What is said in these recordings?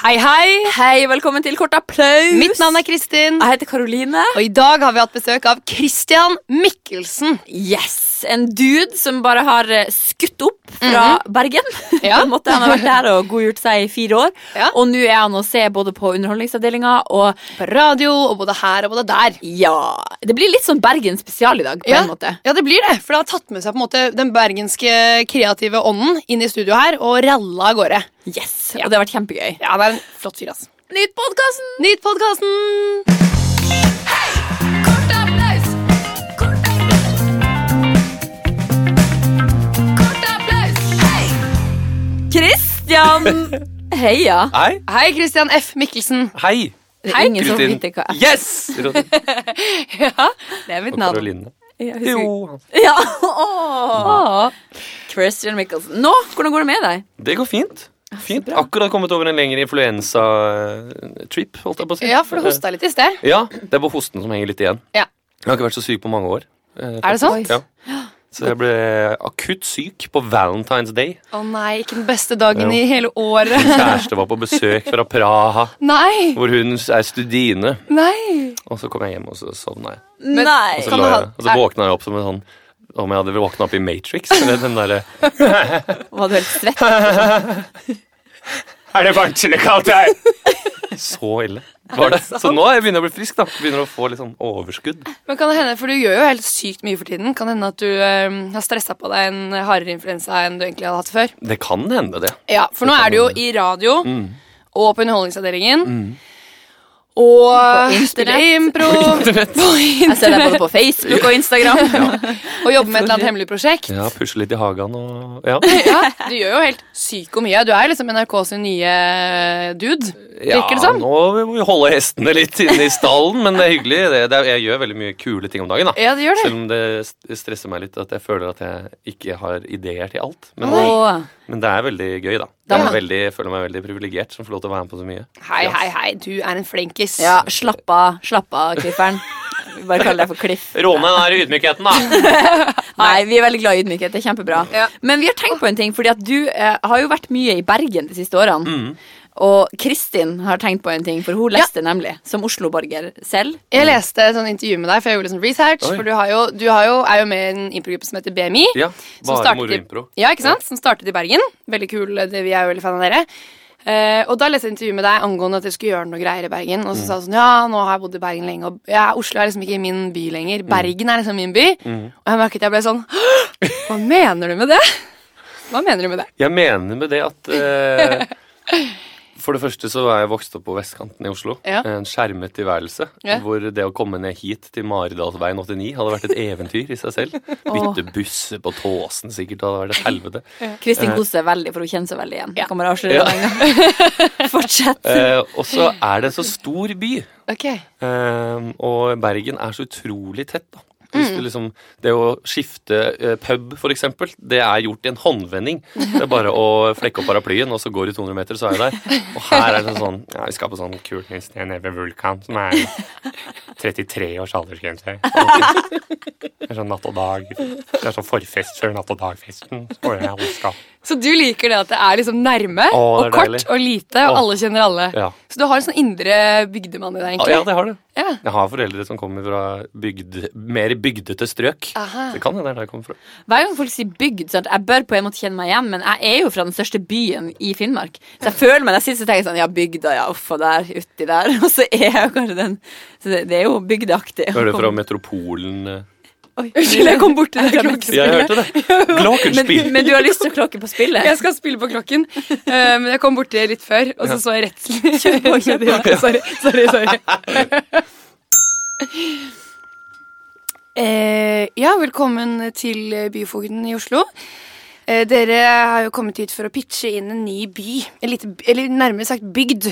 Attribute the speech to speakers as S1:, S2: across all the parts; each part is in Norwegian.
S1: Hei, hei!
S2: Hei, velkommen til Kort applaus.
S1: Mitt navn er Kristin,
S2: Jeg heter Karoline.
S1: og i dag har vi hatt besøk av Christian Mikkelsen.
S2: Yes, En dude som bare har eh, skutt opp fra Bergen.
S1: Mhm. Ja.
S2: på en måte. Han har vært der og godgjort seg i fire år.
S1: Ja.
S2: Og nå er han å se både på Underholdningsavdelinga og
S1: På radio, og både her og både der.
S2: Ja Det blir litt sånn Bergen spesial i dag, på
S1: Ja.
S2: en måte.
S1: Ja, det blir det, for det har tatt med seg på en måte den bergenske kreative ånden inn i studio her, og ralla av gårde.
S2: Yes, Og det har vært kjempegøy.
S1: Ja, det er en flott fyr, altså. ass.
S2: Nytt podkasten!
S1: Nytt podkasten!
S2: Kristian! Heia.
S3: Hei.
S1: Hei, Christian F. Mikkelsen.
S3: Hei.
S2: Det
S1: Hei,
S2: er ingen som
S3: Kristin.
S2: vet hva
S3: Yes!
S1: Ja, det er mitt
S3: Og
S1: navn.
S3: Karoline.
S2: jeg husker ikke.
S3: Jo.
S2: Ja, åh. Christian Michelsen. Nå, hvordan går det med deg?
S3: Det går fint. Fint. Akkurat kommet over en lengre influensa-trip, holdt jeg på å si. Eh,
S1: Ja, for du hosta litt i sted.
S3: Ja, det er bare hosten som henger litt igjen.
S1: Ja.
S3: Jeg har ikke vært så syk på mange år. Eh,
S1: Er det sant?
S3: Ja. Så jeg ble akutt syk på Valentine's Day.
S1: Å nei, ikke den beste dagen
S3: Jo.
S1: i hele året.
S3: Min kjæreste var på besøk fra Praha,
S1: Nei!
S3: hvor hun er studine.
S1: Nei!
S3: Og så kom jeg hjem, og så sovna jeg.
S1: Men-
S2: Nei.
S3: Og så,
S1: Kan
S3: la
S1: du ha-
S3: jeg, og så våkna jeg opp som en sånn om jeg hadde våkna opp i Matrix. Eller den derre altså,
S2: Var du helt svett?
S3: Er det varmt eller kaldt her? Så ille var det. Så nå er jeg begynner jeg å bli frisk. da Begynner å få litt sånn overskudd.
S1: Men kan det hende, for Du gjør jo helt sykt mye for tiden. Kan det hende at du eh, har stressa på deg en hardere influensa enn du egentlig hadde hatt før?
S3: Det kan hende, det.
S1: Ja, For nå
S3: kan
S1: er du jo
S3: hende. Mm.
S1: i radio og på Underholdningsavdelingen. Og
S2: På
S1: spiller
S2: internett.
S1: impro. På
S2: Jeg ser
S1: internett.
S2: deg både på Facebook og Instagram.
S1: Og jobber med et eller annet hemmelig prosjekt.
S3: Ja, Pusle litt i hagen og Ja.
S1: Ja, Du gjør jo helt syko mye. Du er jo liksom NRK sin nye eh, dude.
S3: ja
S1: Virker det sånn? som?
S3: nå må vi holde hestene litt inne i stallen, men det er hyggelig. Det, det, er- jeg gjør veldig mye kule ting om dagen. da
S1: Ja, du gjør det.
S3: Selv om det st- stresser meg litt at jeg føler at jeg ikke har ideer til alt. Men,
S2: Åh.
S3: men det er veldig gøy, da.
S2: Da
S3: Jeg,
S2: må-
S3: er veldig, jeg føler meg veldig privilegert som får lov til å være med på så mye.
S1: Hei, hei, hei. Du er en flinkis.
S2: Ja, slapp av, slapp av, Klifferen. Vi bare kaller deg for Kliff.
S3: Råne den der ydmykheten, da.
S2: Nei, vi er veldig glad i ydmykhet. Det er kjempebra.
S1: Ja.
S2: Men vi har tenkt på en ting, fordi at du eh, har jo vært mye i Bergen de siste årene.
S3: Mm.
S2: Og Kristin har tenkt på en ting, for hun leste nemlig, som Oslo-borger selv.
S1: Jeg leste et sånt intervju med deg, for jeg gjorde litt sånn research.
S3: Oi.
S1: For du, har jo, du har jo, er jo med i en improgruppe som heter BMI.
S3: Ja,
S1: som
S3: bare
S1: startet
S3: moro
S1: i-
S3: impro.
S1: Ja, ikke sant? Som startet i Bergen. Veldig kul, eh, det, vi er jo veldig fan av dere. Eh, og da leste jeg et intervju med deg angående at dere skulle gjøre noe greier i Bergen.
S3: Mm.
S1: Og så sa du sånn Ja, nå har jeg bodd i Bergen lenge, og ja, Oslo er liksom ikke min by
S3: Mm.
S1: lenger. Bergen er liksom min by. Og jeg merket jeg ble sånn «Hå! Hva mener du med det? Hva mener du med det?
S3: Jeg mener med det at eh, For det første så er jeg vokst opp på vestkanten i Oslo.
S1: Ja.
S3: En skjermet tilværelse.
S1: Ja.
S3: Hvor det å komme ned hit til Maridalsveien 89 hadde vært et eventyr i seg selv. Bytte busser på Tåsen sikkert hadde vært et helvete.
S2: Kristin koser seg veldig, for hun kjenner seg veldig igjen. Jeg kan bare avsløre
S3: Ja.
S2: det med en gang. Fortsett.
S3: Eh, og så er det en så stor by.
S1: Ok.
S3: Eh, og Bergen er så utrolig tett, da. Hvis du liksom, det å skifte eh, pub, for eksempel, det er gjort i en håndvending. Det er bare å flekke opp paraplyen, og så går du 200 meter, så er du der. Og her er det sånn ja, Vi skal på sånn kult nytt sted nede ved Vulkan som er 33 års aldersgrense. Det er sånn natt og dag. Det er sånn forfest før natt og dag-festen. Så er det alle skal.
S1: Så du liker det at det er liksom nærme
S3: Å, det er
S1: og kort
S3: deilig.
S1: og lite, og
S3: Å.
S1: alle kjenner alle.
S3: Ja.
S1: Så du har en sånn indre bygdemann i deg, egentlig.
S3: Ja, det har du.
S1: Ja.
S3: Jeg har foreldre som kommer fra bygd, mer bygdete strøk.
S1: Aha.
S3: Det kan hende det er der jeg kommer fra.
S2: Hver gang folk sier bygd, sant? jeg bør på en måte kjenne meg igjen, men jeg er jo fra den største byen i Finnmark. Så jeg føler meg, når jeg sitter og tenker jeg sånn, ja, bygda, ja, uff, og der, uti der, og så er jeg jo kanskje den, så det, det er jo bygdeaktig. å
S3: Hører du fra
S2: komme-
S3: metropolen eh,
S2: Oi, Unnskyld, jeg kom bort til det
S3: Jeg
S2: klokkespillet.
S3: hørte det.
S2: Men,
S3: Glockenspiel.
S2: men du har lyst til å klokke på
S1: Jeg
S2: spillet?
S1: skal spille på klokken, eh, men jeg kom borti litt før, og så så jeg rett
S2: Kjør på, kjør på.
S1: Ja, Sorry, sorry. sorry. Eh, ja, velkommen til eh, Byfogden i Oslo. Eh, dere har jo kommet hit for å pitche inn en ny by, en lite, by- eller nærmere sagt bygd,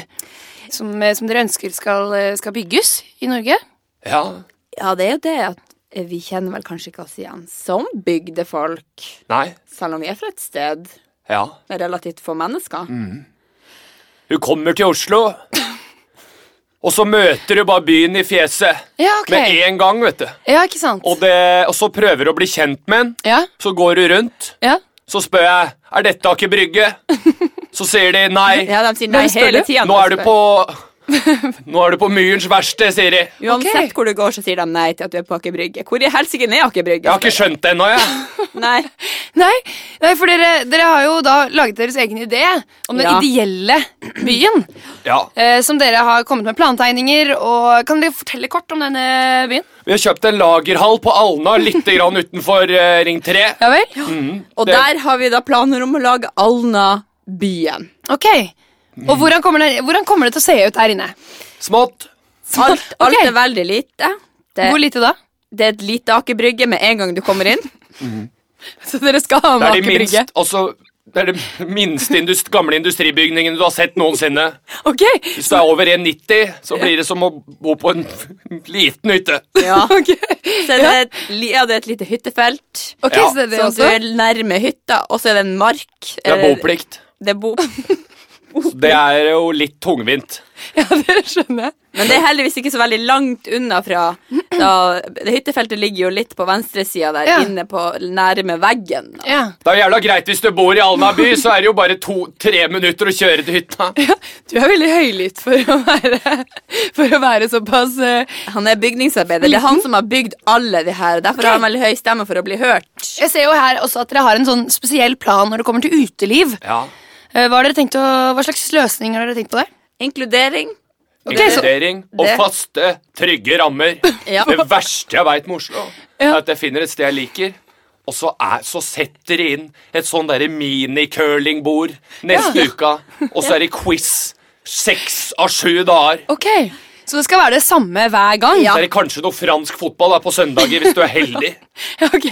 S1: som, eh, som dere ønsker skal, eh, skal bygges i Norge.
S3: Ja.
S2: Ja, det er jo det at vi kjenner vel kanskje ikke oss igjen som bygdefolk,
S3: Nei.
S2: selv om vi er fra et sted
S3: Ja.
S2: med relativt få mennesker.
S3: Mm. Du kommer til Oslo, og så møter du bare byen i fjeset
S1: Ja, ok.
S3: med en gang, vet du.
S1: Ja, ikke sant?
S3: Og, det, og så prøver du å bli kjent med den.
S1: Ja,
S3: Så går du rundt.
S1: ja.
S3: Så spør jeg er dette Aker Brygge. så sier de nei.
S2: Ja, de sier nei
S1: Hvem spør
S2: hele
S1: du?
S2: tida.
S3: Nå er du på Nå er du på Myrens verksted, sier de.
S2: Uansett
S1: Ok.
S2: hvor du går, så sier de nei til at du er på Aker Brygge. Hvor i helsike er Aker Brygge?
S3: Jeg har ikke skjønt det ennå, jeg.
S2: Nei.
S1: Nei, nei for dere, dere har jo da laget deres egen idé om den
S2: Ja.
S1: ideelle byen.
S3: Ja.
S1: eh, som dere har kommet med plantegninger og Kan dere fortelle kort om denne byen?
S3: Vi har kjøpt en lagerhall på Alna litt grann utenfor eh, Ring 3.
S1: Ja vel?
S2: Og
S3: Det-
S2: der har vi da planer om å lage Alna-byen.
S1: Ok. Og hvordan kommer, det, hvordan kommer det til å se ut her inne?
S3: Smått.
S2: Alt, alt
S1: Ok.
S2: er veldig lite. Det,
S1: Hvor lite da?
S2: det er et lite Aker Brygge med en gang du kommer inn. Mhm. Så dere skal ha
S3: Det
S2: med
S3: er de
S2: Aker Brygge.
S3: minst, også, det er de minste indust gamle industribygningene du har sett noensinne.
S2: Ok.
S3: Hvis det er over 1,90, så blir det som å bo på en liten hytte.
S2: Ja. Så er det, et, li- ja, det er et lite hyttefelt.
S1: Ok,
S3: Ja,
S1: så det er det
S2: Sånn at du
S1: også.
S2: er nærme hytta, og så er det en mark. Eh,
S3: Det er boplikt.
S2: Det er bo
S3: Det er jo litt tungvint.
S1: Ja, det skjønner jeg.
S2: Men det er heldigvis ikke så veldig langt unna fra da, det Hyttefeltet ligger jo litt på venstresida der,
S1: Ja.
S2: inne på nærme veggen. da.
S1: Ja.
S3: Det er jo jævla greit hvis du bor i Alna by, så er det jo bare to-tre minutter å kjøre til hytta.
S1: Du er veldig høylytt for å være, for å være såpass eh,
S2: Han er bygningsarbeider. Det er han som har bygd alle de her. Derfor har han veldig høy stemme for å bli hørt.
S1: Jeg ser jo her også at dere har en sånn spesiell plan når det kommer til uteliv.
S3: Ja.
S1: Eh, Hva, har dere tenkt å, hva slags løsninger har dere tenkt på der?
S2: Inkludering.
S1: så-
S3: Inkludering og
S2: det-
S3: faste, trygge rammer.
S2: Ja.
S3: Det verste jeg veit med Oslo,
S1: Ja.
S3: er at jeg finner et sted jeg liker. Og så, er, så setter de inn et sånn derre minicurlingbord neste uka, og så er det quiz seks av sju dager.
S1: Ok, Så det skal være det samme hver gang?
S3: Så er det kanskje noe fransk fotball da, på søndager, hvis du er heldig.
S1: Ok,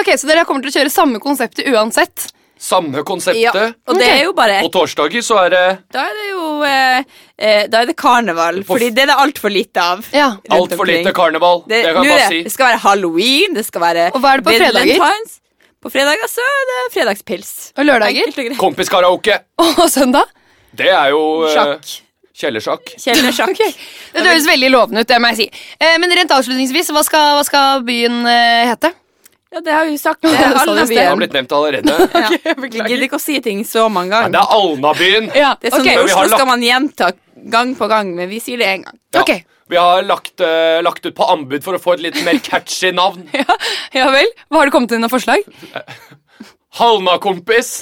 S1: ok, Så dere kommer til å kjøre samme konseptet uansett?
S3: Samme
S2: Ja.
S3: konseptet.
S2: Og det
S1: Ok.
S2: er jo bare
S3: På torsdager så er det
S2: Da er det jo eh, eh, Da er det karneval.
S3: For-
S2: Fordi det er det altfor lite av.
S1: Ja.
S2: Rundt
S3: altfor
S2: omkring.
S3: lite karneval. Det,
S2: Det,
S3: kan
S2: nå
S3: jeg
S2: er
S3: bare
S2: det, det
S3: si.
S2: skal være halloween, det skal være
S1: Og hva er det på fredager?
S2: Valentine's. På fredager så er det fredagspils.
S1: Og lørdager?
S2: Enkelt og greit.
S3: Kompiskaraoke.
S1: Og søndag?
S3: Det er jo eh,
S2: Sjakk.
S3: Kjellersjakk.
S2: Kjellersjakk.
S1: Det høres veldig lovende ut, det må jeg si. Eh, men rent avslutningsvis, hva skal, hva skal byen eh, hete?
S2: Ja, det har vi jo sagt. Det
S1: Ja,
S2: er
S1: det sa du.
S2: alle
S3: Det har
S2: byen.
S3: blitt nevnt allerede.
S2: Ja. Jeg gidder ikke å si ting så mange
S3: Nei, det
S2: ganger.
S3: er Alnabyen.
S2: Det er sånn,
S1: ok.
S2: I
S3: Men vi har
S2: Oslo skal
S3: lagt-
S2: man gjenta gang på gang, men vi sier det én gang.
S3: Ja.
S1: Ok.
S3: Vi har lagt, eh, lagt ut på anbud for å få et litt mer catchy navn.
S1: Ja, ja vel. Hva har det kommet inn av forslag?
S3: Halna-kompis.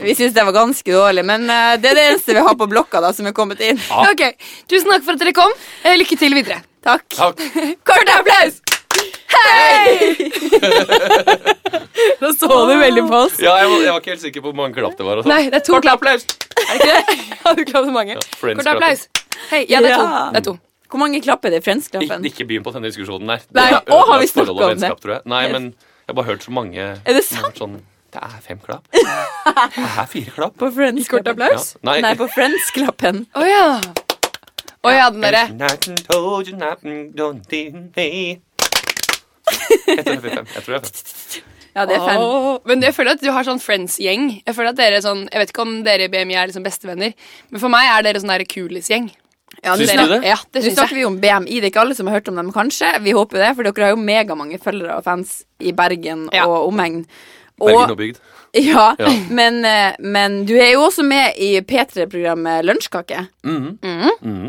S2: Vi syns det var ganske dårlig, men eh, det er det eneste vi har på blokka da, som er kommet inn.
S3: Ja.
S1: Ok, Tusen takk for at dere kom. Eh, lykke til videre.
S2: Takk.
S3: Takk.
S2: Kort applaus!
S1: Da så du veldig på oss.
S3: Ja, jeg, var, jeg var ikke helt sikker på hvor mange klapp det var. og sånn.
S1: Nei, det er to
S3: Kort
S1: klapp.
S3: applaus.
S1: Er det ikke det? Ja, du klappet mange.
S3: Ja,
S1: Kort
S3: Friends-klappen.
S1: applaus. Hei, ja, det er to.
S2: Ja.
S1: Det er to.
S2: Hvor mange klapper er det i
S3: Ik
S2: Friends-klappen?
S3: ikke begynn på denne diskusjonen der.
S2: Nei,
S3: Det
S2: å, har vi
S3: ødelagt forhold
S2: snakket om
S3: og
S2: det?
S3: vennskap, tror jeg. Nei, men jeg har bare hørt så mange
S2: Er det sant?
S3: Sånn, det er fem klapp. Det er fire klapp.
S2: På Friends-klappen?
S3: Ja. Nei.
S2: Nei, på Friends-klappen.
S1: Å ja. Å ja, den derre.
S3: Jeg tror det er fem. Jeg tror det er fem.
S2: Ja, det er fem.
S1: Åh, Men jeg føler at du har sånn friends-gjeng. Jeg føler at dere er sånn, jeg vet ikke om dere i BMI er liksom bestevenner, men for meg er dere sånn der kulis-gjeng.
S2: Ja, nå
S3: Syns
S2: snakker-
S3: du det?
S1: Ja, det
S2: Nå
S1: synes
S2: snakker
S1: jeg.
S2: vi om BMI. Det er ikke alle som har hørt om dem, kanskje. Vi håper det, for dere har jo megamange følgere og fans i Bergen
S1: Ja.
S2: og omegn.
S3: Bergen og bygd.
S2: ja,
S3: Ja.
S2: Men, eh, men du er jo også med i P3-programmet Lunsjkake.
S3: Mm.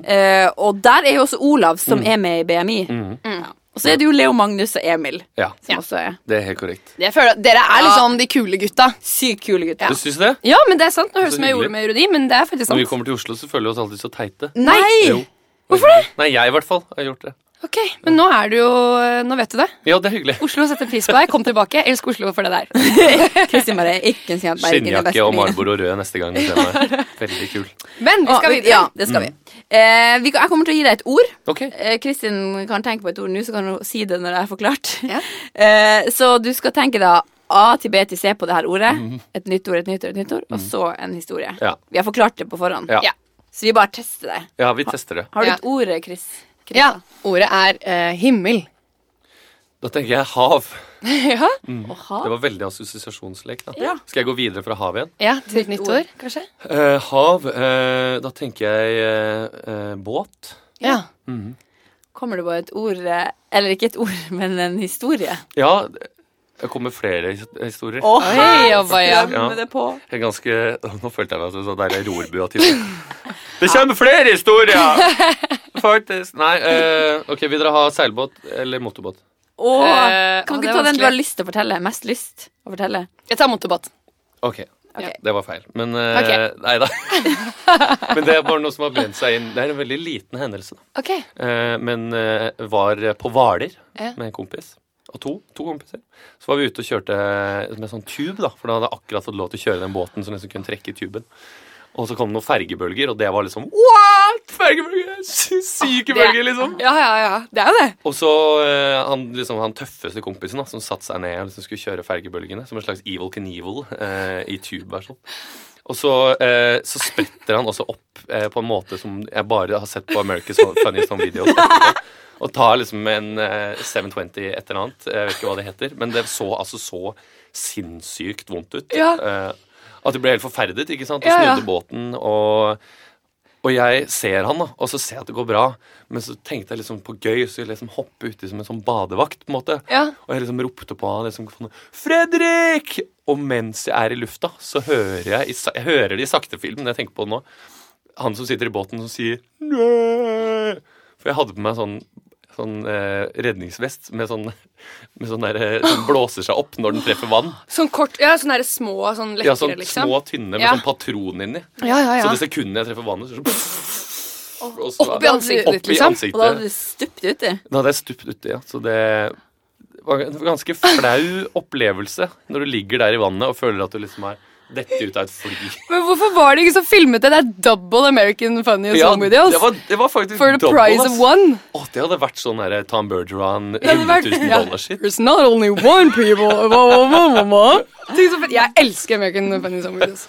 S2: Eh, og der er jo også Olav, som er med i BMI.
S3: Mm.
S2: Ja. Og så er det jo Leo Magnus og Emil,
S3: Ja,
S2: som også er
S3: det er helt korrekt.
S1: Jeg føler at Dere er liksom de kule gutta.
S2: sykt kule gutter.
S3: Du syns det?
S1: Ja, men det er sant. Nå høres det ut
S3: Så
S1: som jeg
S3: hyggelig.
S1: gjorde med urodi, men det er faktisk
S3: Når vi
S1: sant.
S3: kommer til Oslo, så føler vi oss alltid så teite.
S1: Nei!
S3: Jo.
S1: Hvorfor det?
S3: Nei, jeg i hvert fall har gjort det.
S1: Ok, Men nå er du jo Nå vet du det.
S3: Ja, det er hyggelig.
S1: Oslo setter pris på deg. Kom tilbake. Jeg Elsker Oslo for det der.
S2: Kristin Marie er ikke en kjent Bergen. er best
S3: Skinnjakke
S2: i byen.
S3: og Marlboro rød neste gang. du ser meg. Veldig kul.
S1: Men vi skal
S2: Å,
S1: videre.
S2: Ja, det skal vi.
S3: Mm.
S2: Eh, vi. kan- Jeg kommer til å gi deg et ord.
S3: Ok.
S2: Eh, Kristin kan tenke på et ord nå, så kan hun si det når jeg har forklart.
S1: Ja.
S2: Eh, så du skal tenke da A til B til C på det her ordet. Et nytt ord, et nytt ord, et nytt ord, og så en historie.
S3: Mhm. Ja.
S2: Vi har forklart det på forhånd.
S3: Ja.
S1: Ja.
S2: Så vi bare tester det.
S3: ja, vi tester det.
S2: Har du
S1: Ja.
S2: et ord, Chris? Chris?
S1: Ja, Ordet er eh, himmel.
S3: Da tenker jeg hav.
S1: ja.
S2: Å
S3: Det
S2: ha?
S3: var veldig assosiasjonslek. da.
S2: Ja.
S3: Skal jeg gå videre fra hav igjen?
S1: ja, Til et nytt ord, kanskje?
S3: Eh, hav eh, Da tenker jeg eh, eh, båt.
S1: Ja.
S2: Kommer det på et ord eh, Eller ikke et ord, men en historie?
S3: Ja, Det kommer flere his- historier.
S2: Å,
S1: Oi, og hva, ja. Eh,
S2: strømmer det på.
S3: Jeg er Ganske, nå følte jeg meg som en sånn deilig rorbua-type. Det kommer flere historier! Faktisk. Nei, eh, ok, vil dere ha seilbåt eller motorbåt?
S2: Åh,
S1: Eh, å,
S2: kan du
S1: det
S2: ikke
S1: er
S2: ta den du har
S1: vanskelig.
S2: lyst til å fortelle? Mest lyst å fortelle?
S1: Jeg tar motorbåt.
S3: Ok,
S2: Ok.
S3: det var feil. Men eh,
S1: Ok.
S3: nei da. Men det er bare noe som har brent seg inn. Det er en veldig liten hendelse. da.
S1: Ok.
S3: Eh, men eh, var på Hvaler
S1: Ja.
S3: med en kompis. Og to, to kompiser. Så var vi ute og kjørte med sånn tube, da. For da hadde jeg akkurat fått lov til å kjøre den båten som liksom kunne trekke i tuben. Og så kom det noen fergebølger, og det var liksom What?! Fergebølger! Sy- Syke bølger, liksom.
S1: Ja, ja, ja. Det er jo det.
S3: Og så eh, han, liksom, han tøffeste kompisen da, som satte seg ned og liksom skulle kjøre fergebølgene, som en slags evil Knievel eh, i tube. Sånn. Og så, eh, så spretter han også opp eh, på en måte som jeg bare har sett på America's Funniest Home Videos. Og tar liksom en eh, 720 et eller annet. eh, Jeg vet ikke hva det heter. Men det så altså så sinnssykt vondt ut.
S1: Ja.
S3: Eh, at det ble helt forferdet, ikke sant? Og
S1: Ja, ja.
S3: snudde båten og og jeg ser han, da, og så ser jeg at det går bra. Men så tenkte jeg liksom på gøy, så jeg liksom hoppe uti som en sånn badevakt. på en måte.
S1: Ja.
S3: Og jeg liksom ropte på han liksom sånn, 'Fredrik!' Og mens jeg er i lufta, så hører jeg, i sa- jeg hører det i sakte film, når jeg tenker på det nå, han som sitter i båten som sier Nei! For jeg hadde på meg sånn, sånn eh, redningsvest med sånn, med sånn der, eh, som blåser seg opp når den treffer vann.
S1: Sånn kort Ja, sånne der små sånn lekre,
S3: Ja, sånn
S1: liksom.
S3: små, tynne med
S1: Ja.
S3: sånn patron inni.
S1: Ja, ja,
S3: Så
S1: ja.
S3: det sekundet jeg treffer vannet, så, sånn og så
S1: Opp i ansiktet ditt,
S3: opp i
S1: liksom.
S2: Og da
S3: ansiktet.
S2: hadde du stupt uti.
S3: Da hadde jeg stupt uti, ja. Så det var en ganske flau opplevelse når du ligger der i vannet og føler at du liksom er dette ut av et fly.
S1: Men hvorfor var det ikke som filmet det? Det er double American Funny
S3: Ja,
S1: Song Videos.
S3: det, var, det var faktisk
S1: For the
S3: double,
S1: price of
S3: ass.
S1: one.
S3: Å, det hadde vært sånn der Tom Bergeron,
S1: hadde
S3: 100
S1: vært-
S3: 000
S1: ja.
S3: dollar-shit.
S1: There's not only one people Hva, hva, hva, hva, hva? Tenk så fett. Jeg elsker American Funny Song Videos.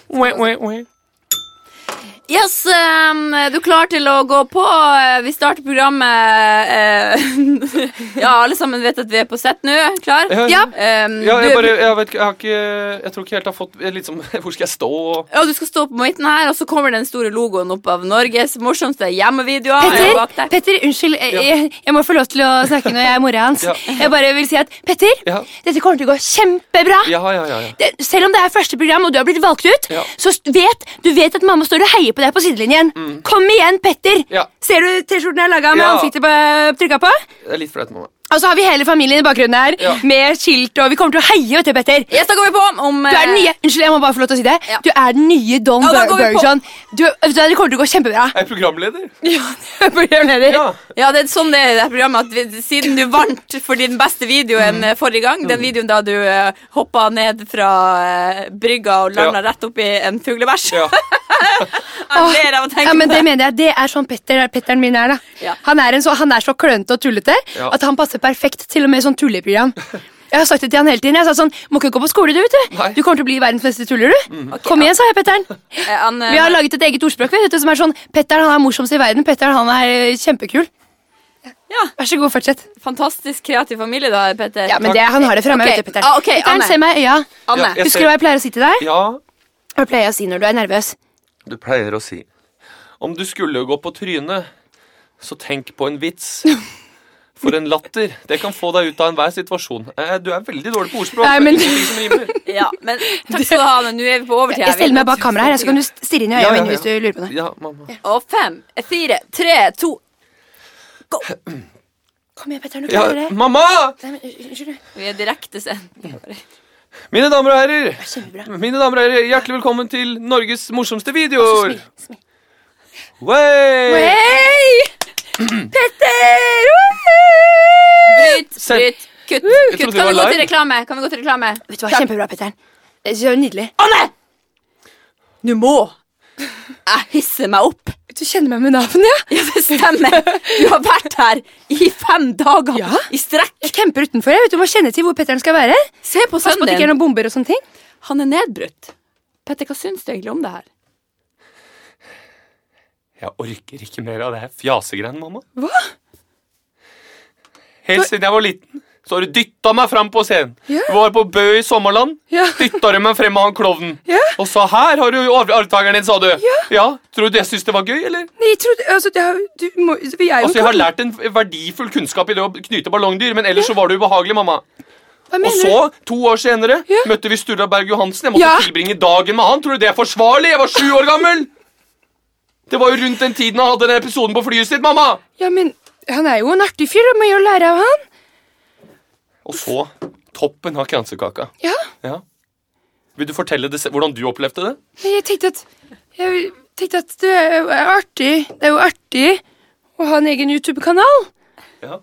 S2: Yes, um, du er klar til å gå på? Eh, Vi starter programmet eh, Ja, alle sammen vet at vi er på sett nå. Klar?
S3: Ja,
S2: ja.
S3: ja.
S2: Um,
S3: Ja, jeg
S2: du,
S3: bare Jeg, vet, ikke- jeg har ikke Jeg tror ikke helt jeg har fått liksom, Hvor skal jeg stå?
S2: ja, du skal stå på midten her, og så kommer den store logoen opp av Norges morsomste hjemmevideoer. eh, bak der.
S1: Petter, unnskyld, jeg,
S3: Ja.
S1: jeg, jeg må få lov til å snakke når jeg er mora hans.
S3: Ja.
S1: Jeg bare vil si at Petter,
S3: Ja.
S1: dette kommer til å gå kjempebra.
S3: Ja, ja, ja. ja.
S1: Det, selv om det er første program og du har blitt valgt ut,
S3: Ja.
S1: så st- vet du vet at mamma står og heier på deg på sidelinjen.
S2: Mm.
S1: Kom igjen, Petter!
S3: Ja.
S1: Ser du T-skjorten jeg har laga med
S3: Ja.
S1: ansiktet på- trykket på?
S3: Det er litt flaut med meg.
S1: Og så har vi hele familien i bakgrunnen her
S3: Ja.
S1: med skilt, og vi kommer til å heie, vet du, Petter.
S2: Yes, da går vi på om
S1: Du er den
S2: eh,
S1: nye Unnskyld, jeg må bare få lov til å si det.
S2: Ja.
S1: Du er den nye Don
S2: Ja, da
S1: Ber-
S2: går vi på.
S1: Bergson. Du, vet du hva, det kommer til å gå kjempebra.
S3: Jeg er programleder.
S1: Programleder.
S3: Ja.
S2: Ja, det er sånn det er i det her programmet at vi, Siden du vant for din beste videoen eh, forrige gang, den videoen da du uh, hoppa ned fra eh, brygga og landa rett opp i en fuglebæsj
S3: Ja.
S2: Jeg ler av å tenke
S1: Ja, men
S2: på
S1: det mener jeg, det er sånn Petter, Petteren min er da
S2: Ja.
S1: han, er en så, han er så klønete og tullete
S3: Ja.
S1: At han passer perfekt til og med i sånn tulleprogram Jeg har sagt det til han hele tiden Jeg sa sånn, må ikke gå på skole du vet du
S3: Nei. Mm.
S1: Du kommer til å bli verdens beste tuller du Kom igjen, sa jeg Petteren
S2: Eh, han, eh,
S1: Vi har laget et eget ordspråk vet du Som er sånn, Petteren han er morsomst i verden Petteren han er eh, kjempekul
S2: Ja.
S1: Vær så god, fortsett
S2: Fantastisk kreativ familie du har, Petter.
S1: Ja, men det, han har det fremme,
S2: Ok.
S1: vet du Petteren
S2: Ah, ok, Anne.
S1: Petteren, se meg i øya
S2: Anne.
S3: Ja, jeg
S1: Husker du hva jeg pleier å si til deg?
S3: Ja,
S1: Hva pleier jeg å si når du er nervøs?
S3: Du pleier å si Om du skulle gå på trynet, så tenk på en vits. For en latter. Det kan få deg ut av enhver situasjon. Eh, du er veldig dårlig på ordspråk.
S1: Nei, men-
S3: Det er ingenting som rimer.
S2: Ja, men takk skal du ha, men nå er vi på overtid.
S1: Jeg stiller meg bak kamera her, så kan du stirre inn i øya
S3: Ja, ja,
S1: mine hvis du
S3: ja.
S1: lurer på det
S3: Ja, mamma.
S2: Og fem, Eh, fire, tre, to
S1: Kom igjen, Petteren, du
S3: Ja,
S1: klarer det
S3: mamma!
S1: Nei, men unnskyld du.
S2: Vi er direkte sendt.
S3: Mine damer og herrer,
S1: Kjempebra
S3: mine damer og herrer, hjertelig velkommen til Norges morsomste videoer.
S1: Smil, smil.
S3: Wey!
S1: Hei! Petter! Woohoo!
S2: Bryt,
S3: Send.
S2: bryt, kutt.
S3: trodde
S2: kutt.
S3: det
S2: Kan vi
S3: var
S2: gå
S3: live.
S2: til reklame? Kan vi gå til reklame?
S1: Vet du hva, Kjempebra, Petter. Det er Eh, Så nydelig.
S2: Anne! Du må. Jeg hisser meg opp.
S1: Du kjenner meg med navn, ja?
S2: Ja, det stemmer. Du har vært her i fem dager
S1: Ja.
S2: i strekk.
S1: Jeg camper utenfor. Jeg vet du må kjenne til hvor Petteren skal være.
S2: Se på
S1: Pass på
S2: sønnen
S1: at det ikke er
S2: din.
S1: noen bomber og sånne ting.
S2: Han er nedbrutt. Petter, hva syns du egentlig om det her?
S3: Jeg orker ikke mer av det her fjasegreiene, mamma.
S1: Hva?
S3: Helt siden jeg var liten, så har du dytta meg fram på scenen.
S1: Ja.
S3: Du var på Bø i Sommerland.
S1: Ja.
S3: Dytta du meg frem av han klovnen.
S1: Ja.
S3: Og sa 'her har du arv- arvtakeren din', sa du. Ja. Tror du jeg syntes det var gøy, eller?
S1: Nei, jeg trodde altså, det er- du må, Vi er jo
S3: Altså, Jeg har lært en verdifull kunnskap i det å knyte ballongdyr, men ellers så var du ubehagelig, mamma.
S1: Hva
S3: Og
S1: mener
S3: så, to år senere,
S1: Ja.
S3: møtte vi Sturla Berg Johansen. Jeg måtte
S1: Ja.
S3: tilbringe dagen med han. Tror du det er forsvarlig? Jeg var sju år gammel! Det var jo rundt den tiden han hadde den episoden på flyet sitt, mamma!
S1: Ja, men han er jo en artig fyr. Du må jo lære av han.
S3: Og så toppen av kransekaka.
S1: Ja,
S3: Ja. Vil du fortelle det, se- hvordan du opplevde det?
S1: men jeg tenkte at Jeg tenkte at det er jo artig Det er jo artig å ha en egen YouTube-kanal
S3: Ja.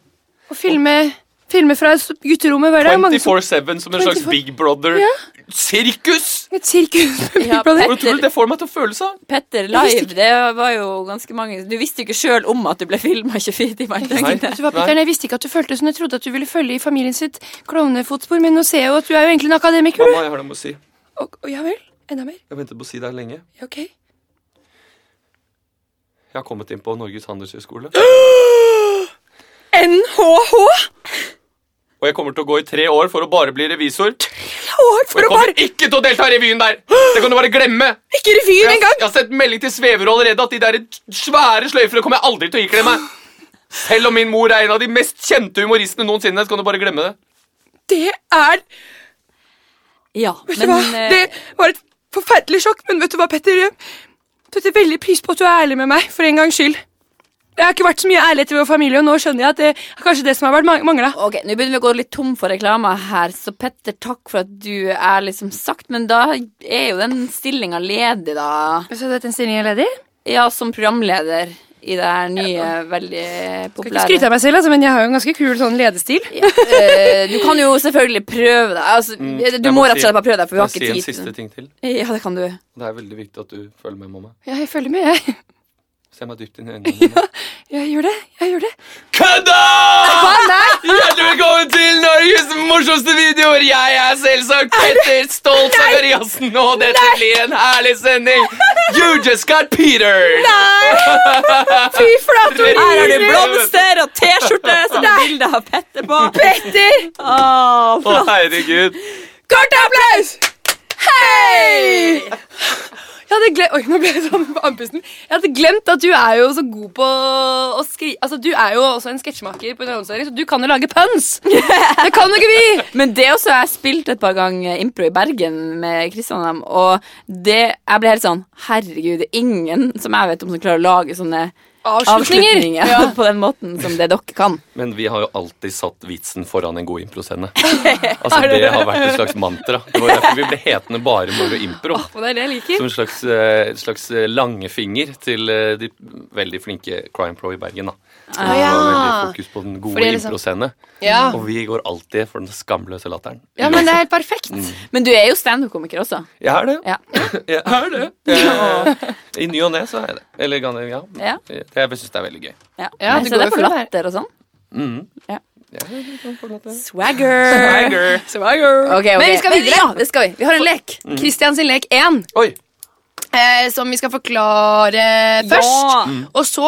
S1: og filme, filme fra gutterommet hver dag. Mange som
S3: 24-7 som en slags
S1: 24
S3: Big Brother-sirkus!
S1: et sirkus.
S2: Ja,
S1: Brother.
S3: Hvordan tror du det får meg til å føle seg?
S2: Petter Live, det var jo ganske mange Du visste jo ikke sjøl om at du ble filma 24 timer i døgnet.
S1: Vet du hva, Petter, jeg visste ikke at du følte som jeg trodde at du ville følge i familien sitt klovnefotspor, men nå ser jeg jo at du er jo egentlig en akademiker. du.
S3: Mamma, jeg har noe å si. Jeg
S1: Og, og ja vel? Enda mer?
S3: har ventet på å si det her lenge.
S1: Ja, ok.
S3: Jeg har kommet inn på Norges handelshøyskole.
S1: NHH!
S3: Og jeg kommer til å gå i tre år for å bare bli revisor. Og
S1: År for
S3: jeg
S1: å bare
S3: kommer ikke til å delta i revyen der! Det kan du bare glemme!
S1: ikke revyen
S3: Jeg,
S1: engang!
S3: jeg har sett melding til Sveverud allerede at de der svære sløyfene kommer jeg aldri til å ikle meg. Selv om min mor er en av de mest kjente humoristene noensinne, så kan du bare glemme det.
S1: Det er
S2: Ja,
S1: Vet du hva?
S2: men eh,
S1: Det var et forferdelig sjokk, men vet du hva, Petter? Jeg setter veldig pris på at du er ærlig med meg, for en gangs skyld. Det har ikke vært så mye ærlighet i vår familie, og nå skjønner jeg at det er kanskje det som har vært mangla.
S2: Ok, Nå begynner vi å gå litt tom for reklame her, så Petter, takk for at du er liksom sagt. Men da er jo den stillinga ledig, da.
S1: Så dette en stilling er ledig?
S2: Ja, som programleder i det her nye, veldig
S1: Skal ikke
S2: populære
S1: skryte av meg selv, altså, men jeg har jo en ganske kul sånn ledestil.
S2: ja, eh, Du kan jo selvfølgelig prøve deg. Altså, du
S3: Mm, jeg
S2: må
S3: må
S2: rett og
S3: si-
S2: slett bare prøve deg, for vi
S3: Kan
S2: har
S3: jeg si en
S2: ikke tid.
S3: siste
S2: til-
S3: ting til?
S2: Ja, det kan du.
S3: Det er veldig viktig at du følger med, mamma.
S1: Ja, jeg følger med, jeg.
S3: Se meg dypt inn i øynene. mamma.
S1: Jeg gjør det. jeg gjør det.
S3: Kødda! Hjertelig velkommen til Norges morsomste videoer. Jeg er selvsagt Petter Stolt Sakariassen, og dette blir en herlig sending. You just got Peter.
S1: Fy flate!
S3: Her
S2: Her har du blomster og T-skjorte som det er bilde av Petter på.
S1: Petter!
S2: Åh,
S3: Å, herregud.
S1: Kort applaus! Hei! Jeg hadde glemt, oi, nå ble jeg sånn på andpusten. Jeg hadde glemt at du er jo så god på å skrive Altså, Du er jo også en sketsjmaker, på underholdningsserien, så du kan jo lage puns! Det kan jo ikke vi!
S2: Men det også, jeg spilte et par ganger impro i Bergen med Kristian og dem, og det, jeg ble helt sånn Herregud, det er ingen som jeg vet om som klarer å lage sånne
S1: Avslutninger.
S2: avslutninger
S1: Ja.
S2: på den måten som det dere kan.
S3: Men vi har jo alltid satt vitsen foran en god improscene. Altså, det har vært et slags mantra. Det var derfor vi ble hetende bare moro impro.
S1: Og det er det jeg liker.
S3: Som en slags, eh, slags eh, langefinger til eh, de veldig flinke crime pro i Bergen. da. Som
S1: Ah, ja.
S3: har veldig fokus på den
S1: Fordi
S3: gode
S1: liksom-
S3: improscene.
S1: Ja.
S3: Og vi går alltid for den skamløse latteren.
S1: ja, men det er helt perfekt.
S2: Men du er jo standup-komiker også.
S3: Jeg er det.
S2: Ja.
S3: Jeg er det. Eh, I ny og ne så er jeg det. Eller gan- ja.
S2: Ja.
S3: Jeg, jeg syns det er veldig gøy.
S1: Ja,
S2: Men
S1: det går jo
S2: så det er
S1: for
S2: på
S1: å være-
S2: latter og sånn.
S3: Ja, det er sånn på en måte.
S2: Swagger.
S3: Tiger.
S2: Ok, ok.
S1: Men vi skal videre.
S2: Ja, det skal vi. Vi har en lek.
S1: Christian sin lek 1,
S3: Oi!
S1: eh, som vi skal forklare først.
S2: Ja.
S1: Og så,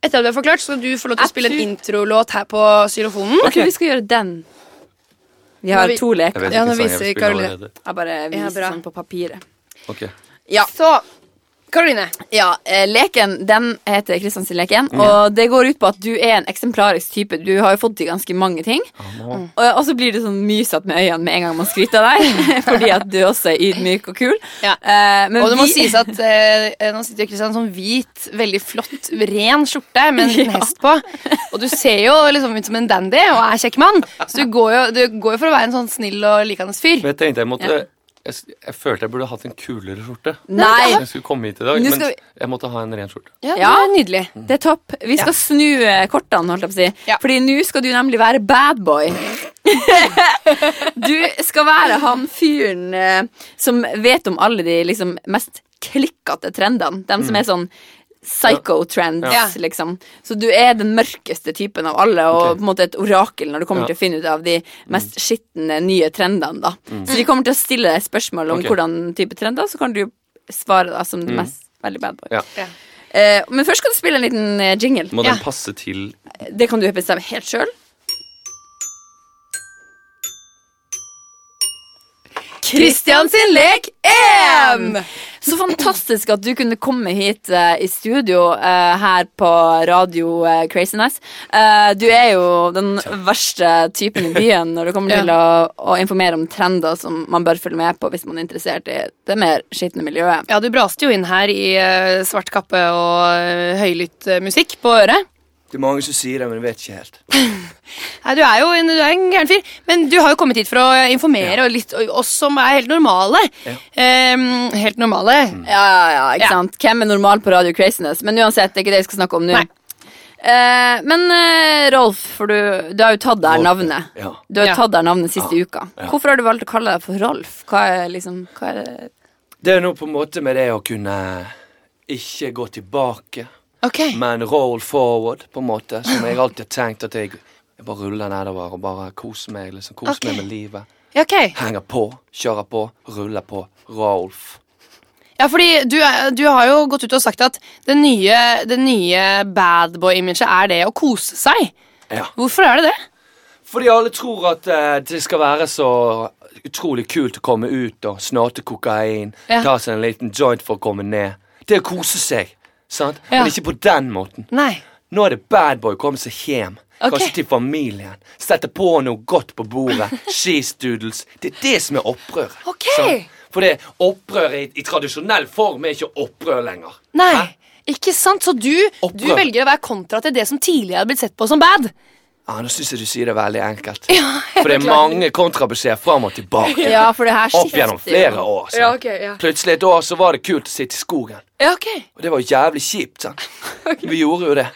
S1: etter at du har forklart, skal du få lov til å
S2: Jeg
S1: spille en
S2: tror-
S1: introlåt her på xylofonen.
S2: Jeg tror vi skal gjøre den. Vi
S1: Når
S2: har
S1: vi-
S2: to
S3: Jeg
S2: leker.
S3: vet
S1: Ja,
S3: ikke
S1: nå
S3: sangen jeg
S1: viser
S3: vil spille
S1: Karoline.
S3: allerede.
S2: Jeg bare viser
S1: bra.
S2: sånn på papiret.
S3: Ok.
S1: Så, Karoline.
S2: Ja, eh, leken den heter Kristians lek 1, og det går ut på at du er en eksemplarisk type. Du har jo fått til ganske mange ting,
S1: Mm.
S2: og, og så blir det sånn mysete med øynene med en gang man skryter av deg, fordi at du også er ydmyk og kul.
S1: Ja.
S2: Eh, men
S1: Og det må
S2: vi-
S1: sies at eh, nå sitter jo Kristian i en sånn hvit, veldig flott, ren skjorte med en liten
S2: Ja.
S1: hest på. Og du ser jo liksom ut som en dandy og er kjekk mann, så du går jo, du går jo for å være en sånn snill og likende fyr.
S3: Men jeg tenkte jeg måtte jeg, s- jeg følte jeg burde hatt en kulere skjorte.
S2: Nei!
S3: Jeg skulle komme hit i dag,
S2: Nå
S3: men
S2: skal vi-
S3: jeg måtte ha en ren skjorte.
S1: Ja, det
S2: Ja.
S1: er nydelig.
S2: Det er topp. Vi skal snu eh, kortene, holdt jeg på å si.
S1: Ja.
S2: Fordi nå skal du nemlig være bad boy. du skal være han fyren eh, som vet om alle de liksom mest klikkete trendene. De
S3: Mm.
S2: som er sånn psycho-trends,
S1: Ja.
S2: liksom. Så du er den mørkeste typen av alle, og
S3: Ok.
S2: på en måte et orakel når du kommer
S3: Ja. Mm.
S2: til å finne ut av de mest skitne nye trendene, da. Så vi kommer til å stille deg spørsmål om
S3: Ok. Mm.
S2: hvordan type trender, så kan du svare da som den mest veldig bad boy.
S3: Ja.
S1: Ja.
S2: Eh, men først skal du spille en liten eh, jingle.
S3: Må
S1: Ja.
S3: den passe til
S2: Det kan du bestemme helt sjøl.
S1: Christian sin lek
S2: Um.
S1: 1!
S2: Så fantastisk at du kunne komme hit eh, i studio eh, her på Radio eh, Craziness. Eh, du er jo den verste typen i byen når det kommer til å, å informere om trender som man bør følge med på hvis man er interessert i det mer skitne miljøet.
S1: Ja, du braste jo inn her i eh, svart kappe og eh, høylytt eh, musikk på øret.
S3: Det er mange som sier det, men jeg vet ikke helt.
S1: Nei, Du er jo en, du er en gæren fyr, men du har jo kommet hit for å informere og litt, og oss som er helt normale. Ehm, helt normale.
S2: Ja, ja, ja, ikke
S1: Ja.
S2: sant? Hvem er normal på Radio Craziness? Men uansett, det er ikke det vi skal snakke om nå.
S1: Nei.
S2: Eh, men eh, Rolf, for du, du har jo tatt deg
S3: Rolf,
S2: navnet.
S3: ja.
S2: Du har
S1: Ja.
S2: tatt deg navnet siste uka. Hvorfor har du valgt å kalle deg for Rolf? Hva er liksom hva er det?
S3: Det er noe på en måte med det å kunne ikke gå tilbake,
S1: Ok.
S3: men roll forward, på en måte. Som jeg alltid har tenkt at jeg, jeg bare ruller nedover og bare koser meg. liksom, Koser
S1: Ok.
S3: meg med livet.
S1: Ja, ok.
S3: Henger på, kjører på, ruller på. Rolf.
S1: Ja, fordi du, er- du har jo gått ut og sagt at det nye, det nye badboy-imaget er det å kose seg.
S3: Ja.
S1: Hvorfor er det det?
S3: Fordi alle tror at eh, det skal være så utrolig kult å komme ut og snorte kokain,
S1: Ja.
S3: ta seg en liten joint for å komme ned. Det er å kose seg, sant?
S1: Ja.
S3: Men ikke på den måten.
S1: Nei.
S3: Nå er det bad boy å komme seg hjem.
S1: Ok.
S3: Kanskje til familien. Sette på noe godt på bordet. Skistoodles. Det er det som er opprøret.
S1: Ok.
S3: sant? For det opprøret i, i tradisjonell form er ikke opprør lenger.
S1: Nei.
S3: Hæ?
S1: Ikke sant? Så du, du
S3: Opprør.
S1: velger å være kontra til det som tidligere hadde blitt sett på som bad.
S3: Ja, Nå syns jeg du sier det veldig enkelt.
S1: Ja,
S3: For det er mange kontrabeskjeder fram og tilbake.
S2: Ja, for det her
S3: Opp
S2: skifter jo.
S3: gjennom flere år. sant?
S1: Ja, ok, ja.
S3: Plutselig et år så var det kult å sitte i skogen.
S1: Ja, ok.
S3: Og det var jo jævlig kjipt. sant? Vi gjorde jo det.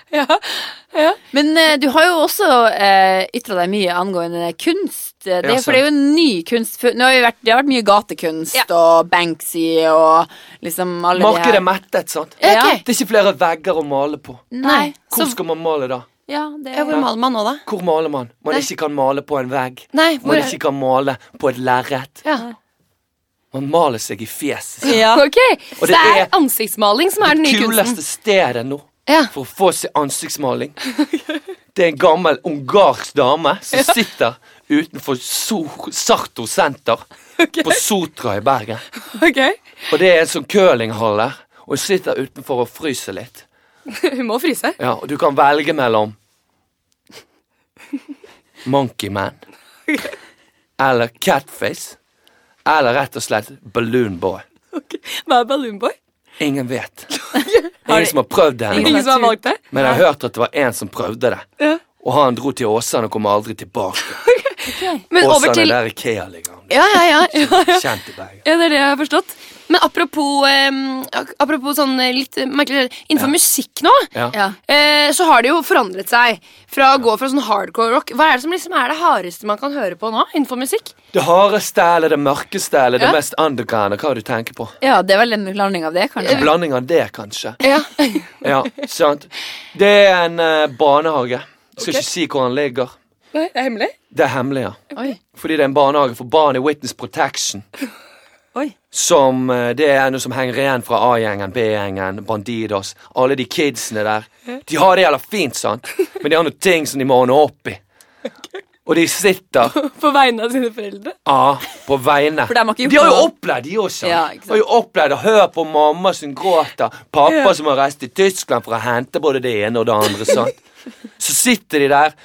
S2: Men eh, du har jo også uh, ytra deg mye angående kunst. eh, Det,
S3: Ja,
S2: for det er jo en ny kunst. For, nå har vi vært, det har vært mye gatekunst
S1: Ja.
S2: og Banksy og liksom alle
S3: Markedet
S2: de
S3: er mettet, sant?
S2: her.
S1: Ja, ok.
S3: Det er ikke flere vegger å male på.
S2: Nei.
S3: Hvor skal man male da?
S2: Ja, det
S1: Ja, hvor maler man nå, da?
S3: Hvor maler man? Man
S1: Nei.
S3: ikke kan male på en vegg.
S1: Nei, hvor
S3: Man
S1: er-
S3: ikke kan male på et lerret.
S1: Ja.
S3: Man maler seg i fjeset.
S2: ja.
S1: Ok, Så
S3: Og
S1: det
S3: det
S1: er
S3: er
S1: ansiktsmaling som er den
S3: Det
S1: nye kunsten.
S3: kuleste stedet nå
S1: Ja.
S3: for å få seg ansiktsmaling. Det er en gammel ungarsk dame som sitter utenfor So- Sarto senter på Sotra i Bergen.
S1: Ok.
S3: Og det er en sånn curlinghall der. Og hun sitter utenfor og fryser litt.
S1: Hun må fryse.
S3: Ja, Og du kan velge mellom Monkeyman eller Catface eller rett og slett Balloon Boy.
S1: Hva er Balloonboy?
S3: Ingen vet. Ingen som har prøvd det ennå.
S1: Ingen som har valgt det?
S3: Men jeg har hørt at det var en som prøvde det.
S1: Ja.
S3: Og han dro til Åsane og kom aldri tilbake.
S1: Men over
S3: Åsane
S1: til
S3: der Ikea ligger. han.
S1: Ja, ja, ja. ja, ja.
S3: Kjent i Bergen.
S1: Ja, det er det jeg har forstått. Men apropos, em, ak- apropos sånn eh, litt eh, merkelig Innenfor musikk nå,
S3: Ja.
S2: Ja.
S1: eh, så har det jo forandret seg. Fra å gå fra sånn hardcore rock Hva er det som liksom er det hardeste man kan høre på nå innenfor musikk?
S3: Det hardeste eller det mørkeste eller det
S1: Ja.
S3: mest underground, hva har du tenker på?
S2: ja, det er vel en blanding av det,
S3: En
S2: kanskje.
S3: blanding av det, kanskje.
S1: Ja.
S3: Ja, sant. Det er en eh, barnehage. Jeg skal ikke si hvor han ligger.
S1: Nei, det er hemmelig?
S3: Det er hemmelig, ja.
S2: Oi.
S3: Fordi det er en barnehage for barn i Witness Protection.
S2: Oi.
S3: Som eh, Det er noe som henger igjen fra A-gjengen, B-gjengen, Bandidos. Alle de kidsene der. De har det jævla fint, sant, men de har noen ting som de må ordne opp i. Og de sitter
S1: På vegne av sine foreldre?
S3: Ja, på vegne.
S2: For de har ikke gjort
S3: de har jo
S2: noe.
S3: opplevd, de også.
S2: Ja, ikke sant.
S3: De har jo opplevd å høre på mamma som gråter, pappa som har reist til Tyskland for å hente både det ene og det andre. sant? Så sitter de der.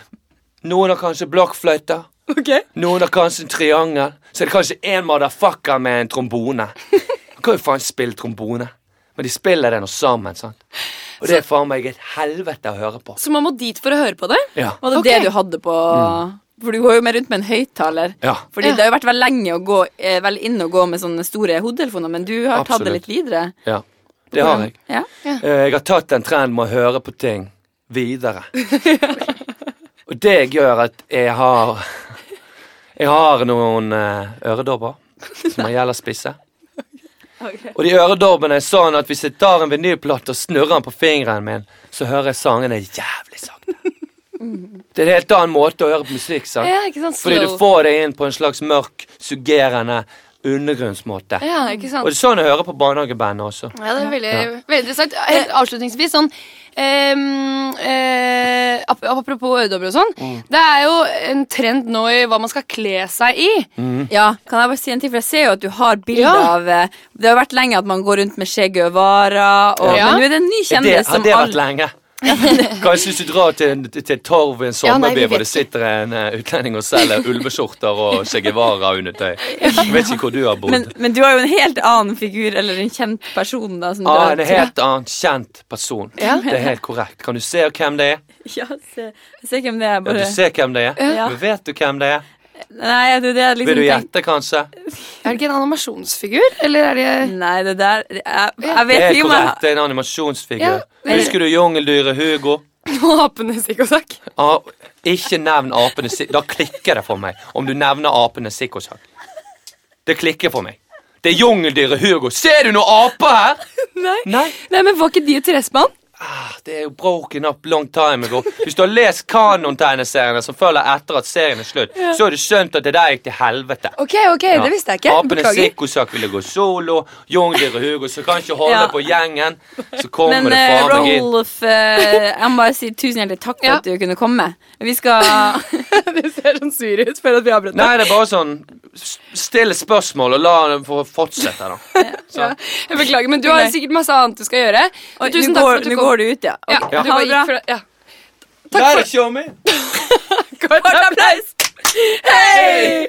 S3: Noen har kanskje blokkfløyte,
S1: Ok.
S3: noen har kanskje en triangel. Så er det kanskje en motherfucker med en trombone. Han kan jo faen spille trombone, men de spiller den nå sammen. sant? Og det er faen meg et helvete å høre på.
S1: Så man må dit for å høre på det?
S3: Ja. Mm.
S2: Var det
S1: Ok.
S2: det du hadde på For du går jo mer rundt med en høyttaler.
S3: Ja.
S2: Fordi
S1: Ja.
S2: det har jo vært vel lenge å gå, eh, vel inn å gå med sånne store hodetelefoner, men du har tatt det
S3: Absolutt.
S2: litt videre.
S3: ja. Det har jeg.
S2: Ja.
S3: Eh, Jeg har tatt en trend med å høre på ting videre. Og det gjør at jeg har Jeg har noen eh, øredobber som jeg gjelder spisse. Og de øredobbene er sånn at hvis jeg tar en vinylplate og snurrer den på fingeren min, så hører jeg sangene jævlig sakte. Det er en helt annen måte å høre på musikk, sant?
S1: Ja, ikke sant?
S3: Fordi du
S1: Slow.
S3: får det inn på en slags mørk, suggerende undergrunnsmåte.
S1: Ja, ikke sant?
S3: Og det er sånn jeg hører på barnehagebandet også.
S1: Ja, det er veldig, veldig interessant. Helt Eh, avslutningsvis, sånn, ehm, eh, ap- Apropos øredobber og sånn. Det er jo en trend nå i hva man skal kle seg i.
S3: Mm.
S2: Ja, kan jeg bare si en ting, for jeg ser jo at du har bilder
S1: Ja.
S2: av eh, Det har vært lenge at man går rundt med skjegg og varer, og,
S1: Ja.
S2: men nå er det en ny
S3: Det,
S2: kjendis
S3: har
S2: som
S3: det vært
S2: alle
S3: lenge? Kanskje hvis du drar til, til et torv en
S1: Ja, nei,
S3: sommerby
S1: vi vet
S3: hvor det sitter en eh, utlending og selger ulveskjorter og Che Guevara-undertøy. Jeg vet ikke hvor du har bodd.
S2: men, men du har jo en helt annen figur, eller en kjent person, da. Som
S3: ah,
S2: du
S3: en
S2: har,
S3: helt annen kjent person. Det er helt korrekt. Kan du se hvem det er?
S2: Ja, se, se hvem det er.
S3: Ja,
S2: Bare.
S3: du ser hvem det er.
S2: Ja.
S3: Men vet du hvem det er?
S2: Nei, det, er det jeg
S3: Vil
S2: liksom
S3: du
S2: tenkte-
S3: gjette, kanskje?
S1: Er det ikke en animasjonsfigur? Eller er det
S2: Nei, det der det- Jeg, jeg
S3: Det
S2: vet
S3: er
S2: ikke om
S3: korrekt.
S2: jeg
S3: Det er en animasjonsfigur.
S1: Ja, det-
S3: Husker du jungeldyret Hugo?
S1: Mm. apenes psykosak?
S3: Ah, ikke nevn apene si- Da klikker det for meg om du nevner apene sikkosak. Det klikker for meg. Det er jungeldyret Hugo. Ser du noen aper her?
S1: Nei.
S3: Nei.
S1: Nei, men var ikke de et trespann?
S3: Ah, Det er jo broken up long time ago. Hvis du har lest Kanon-tegneseriene som følger etter at serien er slutt, så har du skjønt at det der gikk til helvete.
S1: Ok, ok, det visste jeg ikke.
S3: Apene
S1: Beklager.
S3: Sikkosak ville gå solo. Jungdyr og Hugo som kan ikke holde
S2: Ja.
S3: på gjengen. Så kommer
S2: men
S3: det
S2: eh,
S3: faen meg inn.
S2: Rolf, eh, jeg må bare si tusen hjertelig takk for
S1: Ja.
S2: at du kunne komme. Vi skal
S1: du ser sånn sur ut for at vi avbrøt
S3: Nei, det er bare sånn s- Still spørsmål og la dem få fortsette, da.
S1: Ja. Jeg beklager, men du har
S2: Nei.
S1: sikkert masse annet du skal gjøre.
S2: Oi,
S1: Tusen
S2: nå
S1: takk
S2: går,
S1: for at du
S2: nå
S1: kom.
S2: går du ut, ja.
S1: Ja,
S2: Ok,
S1: du
S2: Ha
S1: bare
S2: det bra.
S1: gikk fra Ja.
S3: Der er Tjommi!
S2: Kort applaus! Hei!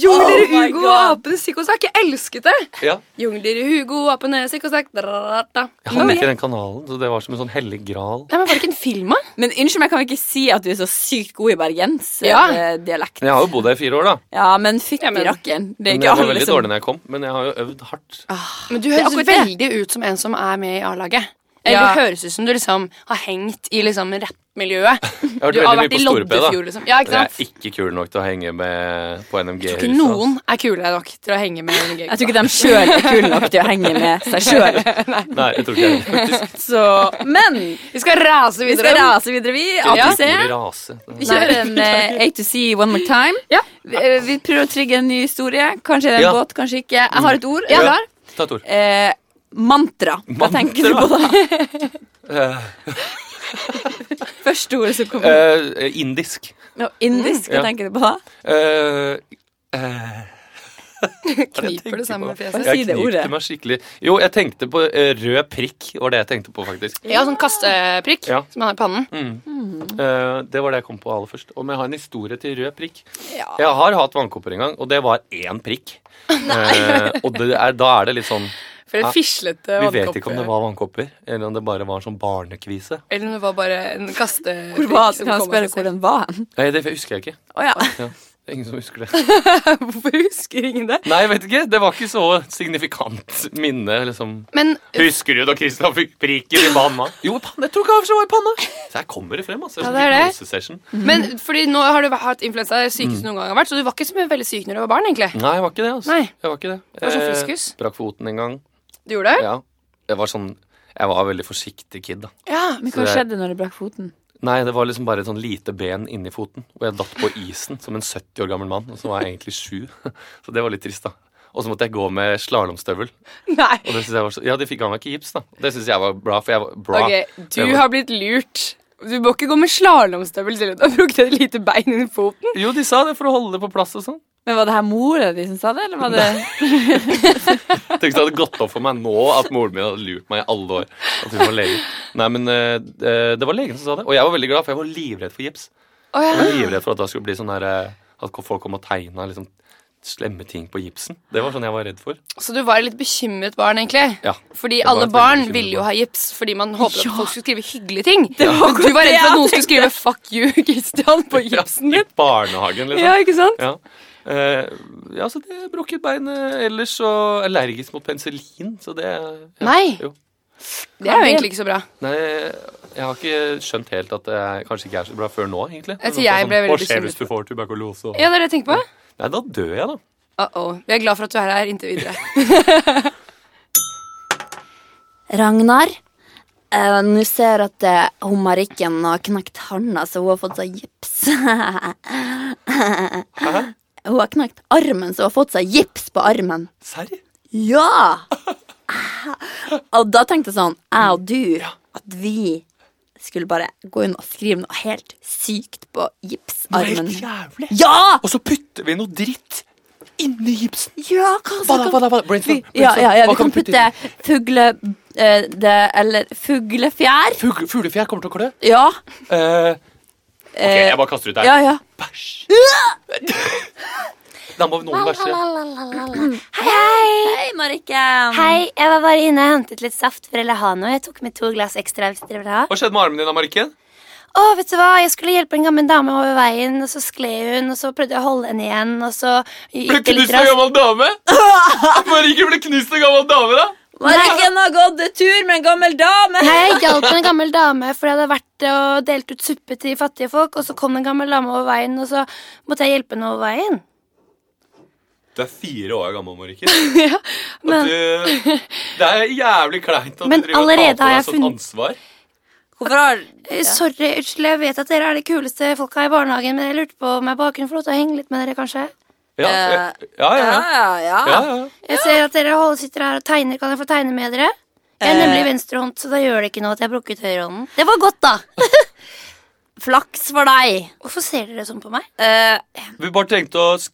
S1: Jungler
S2: Oh my
S1: Hugo og
S2: God.
S1: apene psykosak. Jeg elsket det!
S3: Ja.
S1: Jungler Hugo og apene psykosak. Da-da-da-da.
S3: Jeg hadde ikke den kanalen, så det var som en sånn hellig gral.
S1: Nei, men Var det ikke en film, da?
S2: Men unnskyld meg, kan vi ikke si at du er så sykt god i eh,
S1: Ja.
S2: bergensdialekt?
S3: Men Jeg har jo bodd her i fire år, da.
S2: Ja, men fytti
S1: Ja, men-
S2: rakkeren. Det er
S3: Men
S2: ikke
S3: jeg var
S2: alle
S3: veldig
S2: som
S3: dårlig når jeg kom, men jeg har jo øvd hardt.
S1: Men du
S2: er
S1: høres
S2: akkurat det.
S1: veldig ut som en som er med i A-laget. Eller
S2: Ja.
S1: Det høres ut som du liksom har hengt i liksom rappmiljøet.
S3: Jeg har
S1: Du
S3: vært
S1: har vært
S3: veldig mye
S1: i
S3: på Storpe,
S1: Loddefjord,
S3: da.
S1: liksom. Ja, ikke
S3: Jeg er
S1: sant?
S3: ikke kul nok til å henge med
S1: Ikke
S3: på NMG-huset.
S1: noen er kulere nok til å henge med NMG.
S2: Jeg tror ikke de sjøl er kule nok til å henge med seg sjøl.
S3: Nei, jeg tror ikke jeg faktisk.
S2: Men
S1: Vi skal rase
S2: vi skal
S1: videre.
S2: rase videre, vi. ATC.
S3: Ordet rase.
S2: Vi kjører en eh, A2C one more time.
S1: Ja.
S2: Vi, eh, vi prøver å trigge en ny historie. Kanskje er det en
S3: Ja.
S2: båt, kanskje ikke. Jeg har et ord. Er
S3: Ja.
S2: du klar?
S3: Ta et ord.
S2: Eh, mantra. Hva
S3: Mantra?
S2: tenker du på da?
S3: Eh,
S2: Første ordet som kommer.
S3: eh, indisk.
S2: Nå, indisk, hva
S3: Ja.
S2: tenker du på da?
S3: Eh, eh,
S1: Kniper det samme med fjeset.
S2: Bare si
S3: jeg
S2: det ordet.
S3: knipte meg skikkelig. Jo, jeg tenkte på eh, rød prikk, var det jeg tenkte på, faktisk.
S1: Ja, Mm. sånn kasteprikk
S3: Ja.
S1: som han har i pannen.
S3: Eh, det var det jeg kom på aller først. Om jeg har en historie til rød prikk?
S2: Ja.
S3: Jeg har hatt vannkopper en gang, og det var én prikk. Eh, og det er, da er det litt sånn
S1: For
S3: Ja.
S1: et fislete
S3: Vi
S1: vannkopper.
S3: vet ikke om det var vannkopper, eller om det bare var en sånn barnekvise.
S1: Eller om det var bare en kasteprikk.
S2: Hvor var,
S1: som
S2: kan jeg
S1: kom av
S2: spørre
S1: seg
S2: hvor
S1: selv.
S2: den var hen?
S3: Nei, det husker jeg ikke.
S2: Å ja.
S3: Ja, det er ingen som husker det.
S1: Hvorfor husker ingen det?
S3: Nei, jeg vet ikke. Det var ikke så signifikant minne. liksom.
S1: Men
S3: Husker du da Kristian fikk prikken i panna? Jo, panna, jeg tror kanskje det var i panna. Så her kommer det frem. altså.
S1: Ja, det er det.
S3: Hypnosesession.
S1: Men fordi nå har du hatt influensa, det
S3: Mm.
S1: sykeste noen gang har vært, så du var ikke så mye veldig syk når du var barn, egentlig.
S3: Nei, jeg var ikke det. altså.
S1: Nei.
S3: Jeg var ikke det.
S1: var sånn
S3: Eh,
S1: friskus.
S3: Brakk foten en gang.
S1: Du gjorde det?
S3: Ja. Jeg var sånn Jeg var veldig forsiktig kid, da.
S1: Ja.
S2: Men
S3: Så
S2: hva
S3: det-
S2: skjedde når du brakk foten?
S3: Nei, det var liksom bare et sånn lite ben inni foten. Og jeg datt på isen som en 70 år gammel mann, og så var jeg egentlig sju. Så det var litt trist, da. Og så måtte jeg gå med slalåmstøvel.
S1: Nei.
S3: Og det synes jeg var så Ja, de fikk av meg ikke gips, da. Det syns jeg var bra, for jeg var bra.
S1: Ok, du
S3: Det var-
S1: har blitt lurt. Du må ikke gå med slalåmstøvel selv om du har brukt et lite bein under foten.
S3: Jo, de sa det for å holde det på plass og sånn.
S2: Men Var det her mora di som sa det, eller var det
S3: Tenk hvis det hadde gått opp for meg nå at moren min hadde lurt meg i alle år. At hun var lege. Nei, men eh, eh, det var legen som sa det. Og jeg var veldig glad, for jeg var livredd for gips.
S1: Å ja.
S3: Jeg var livredd for at da skulle bli sånn der eh, At folk kom og tegna liksom slemme ting på gipsen. Det var sånn jeg var redd for.
S1: Så du var et litt bekymret barn, egentlig?
S3: Ja.
S1: Fordi
S3: Jeg var
S1: alle
S3: et veldig
S1: barn
S3: bekymret
S1: ville jo
S3: barn.
S1: ha gips fordi man håpet at folk skulle skrive hyggelige ting.
S2: var
S1: Men du var
S2: akkurat det
S1: redd for
S2: jeg
S1: at noen skulle skrive 'fuck you, Christian' på
S3: Ja,
S1: gipsen
S3: I
S1: din.
S3: barnehagen, liksom.
S1: Ja, ikke sant?
S3: Ja. Eh, ja, så det er brukket beinet ellers og allergisk mot penicillin, så det ja.
S1: Nei.
S3: Jo.
S1: Det er jo egentlig ikke så bra.
S3: Nei, jeg har ikke skjønt helt at det er- kanskje ikke er så bra før nå, egentlig.
S1: Jeg tror Altså, jeg ble veldig
S3: sånn, Hva skjer
S1: bekymret
S3: hvis du får tuberkulose? og-
S1: Ja, det er det jeg tenker på.
S3: Nei, da dør jeg, da.
S1: Uh-oh. Vi er glad for at du er her inntil videre.
S4: Ragnar, eh, nå ser jeg at eh, hun Marikken har knekt handa, så hun har fått seg gips. hun har knekt armen, så hun har fått seg gips på armen.
S3: Serr?
S4: Ja! Og da tenkte jeg sånn, jeg og du, at vi
S2: skulle bare gå inn og skrive noe helt sykt på gipsarmen.
S5: jævlig.
S2: Ja!
S5: Og så putter vi noe dritt inni gipsen.
S2: Ja, hva
S5: Hva da, hva da, hva da? Brainstorm.
S2: Ja, ja, ja,
S5: Hva
S2: vi kan
S5: vi putte
S2: putte fugle... eh, det, eller fuglefjær.
S5: i? Fugle- Fuglefjær kommer til å klø.
S2: Ja.
S5: Eh,
S3: Ok, jeg bare kaster ut der.
S2: ja, ja.
S5: bæsj. Da må noen bæsje.
S2: Hei, Marikken.
S6: Hei, jeg var bare inne og hentet litt saft for Elahano. Jeg tok med to glass ekstra hvis dere vil ha.
S3: Hva skjedde med armen din, Marikken?
S6: Å, vet du hva, jeg skulle hjelpe en gammel dame over veien, og så skled hun, og så prøvde jeg å holde henne igjen, og så
S3: Ble
S6: gikk det litt
S3: knust av
S6: raskt.
S3: gammel dame? Marikken ble knust av gammel dame, da?
S2: Marikken har gått en tur med en gammel dame.
S6: Nei, jeg hjalp en gammel dame, for jeg hadde vært og delt ut suppe til fattige folk, og så kom en gammel dame over veien, og så måtte jeg hjelpe henne over veien.
S3: Du er fire år gammel, Marikken.
S6: men-
S3: Og du, det er jævlig kleint at
S6: Men
S3: du driver og
S6: allerede
S3: tar på
S6: har
S3: deg
S6: jeg
S3: sånt
S6: funnet-
S3: ansvar.
S2: Hvorfor har
S6: Eh, Sorry, unnskyld, jeg vet at dere er de kuleste folka i barnehagen, men jeg lurte på om jeg bare kunne få lov til å henge litt med dere, kanskje?
S3: Ja, ja,
S2: Eh,
S3: ja. ja.
S2: ja, ja.
S3: ja, ja.
S6: Jeg ser at dere holder, sitter her og tegner. Kan jeg få tegne med dere? Jeg er
S2: Eh.
S6: nemlig venstrehånd, så da gjør det ikke noe at jeg har brukket høyrehånden. Det var godt, da.
S2: Flaks for deg.
S6: Hvorfor ser dere sånn på meg?
S2: Eh,
S3: Vi bare tenkte å sk-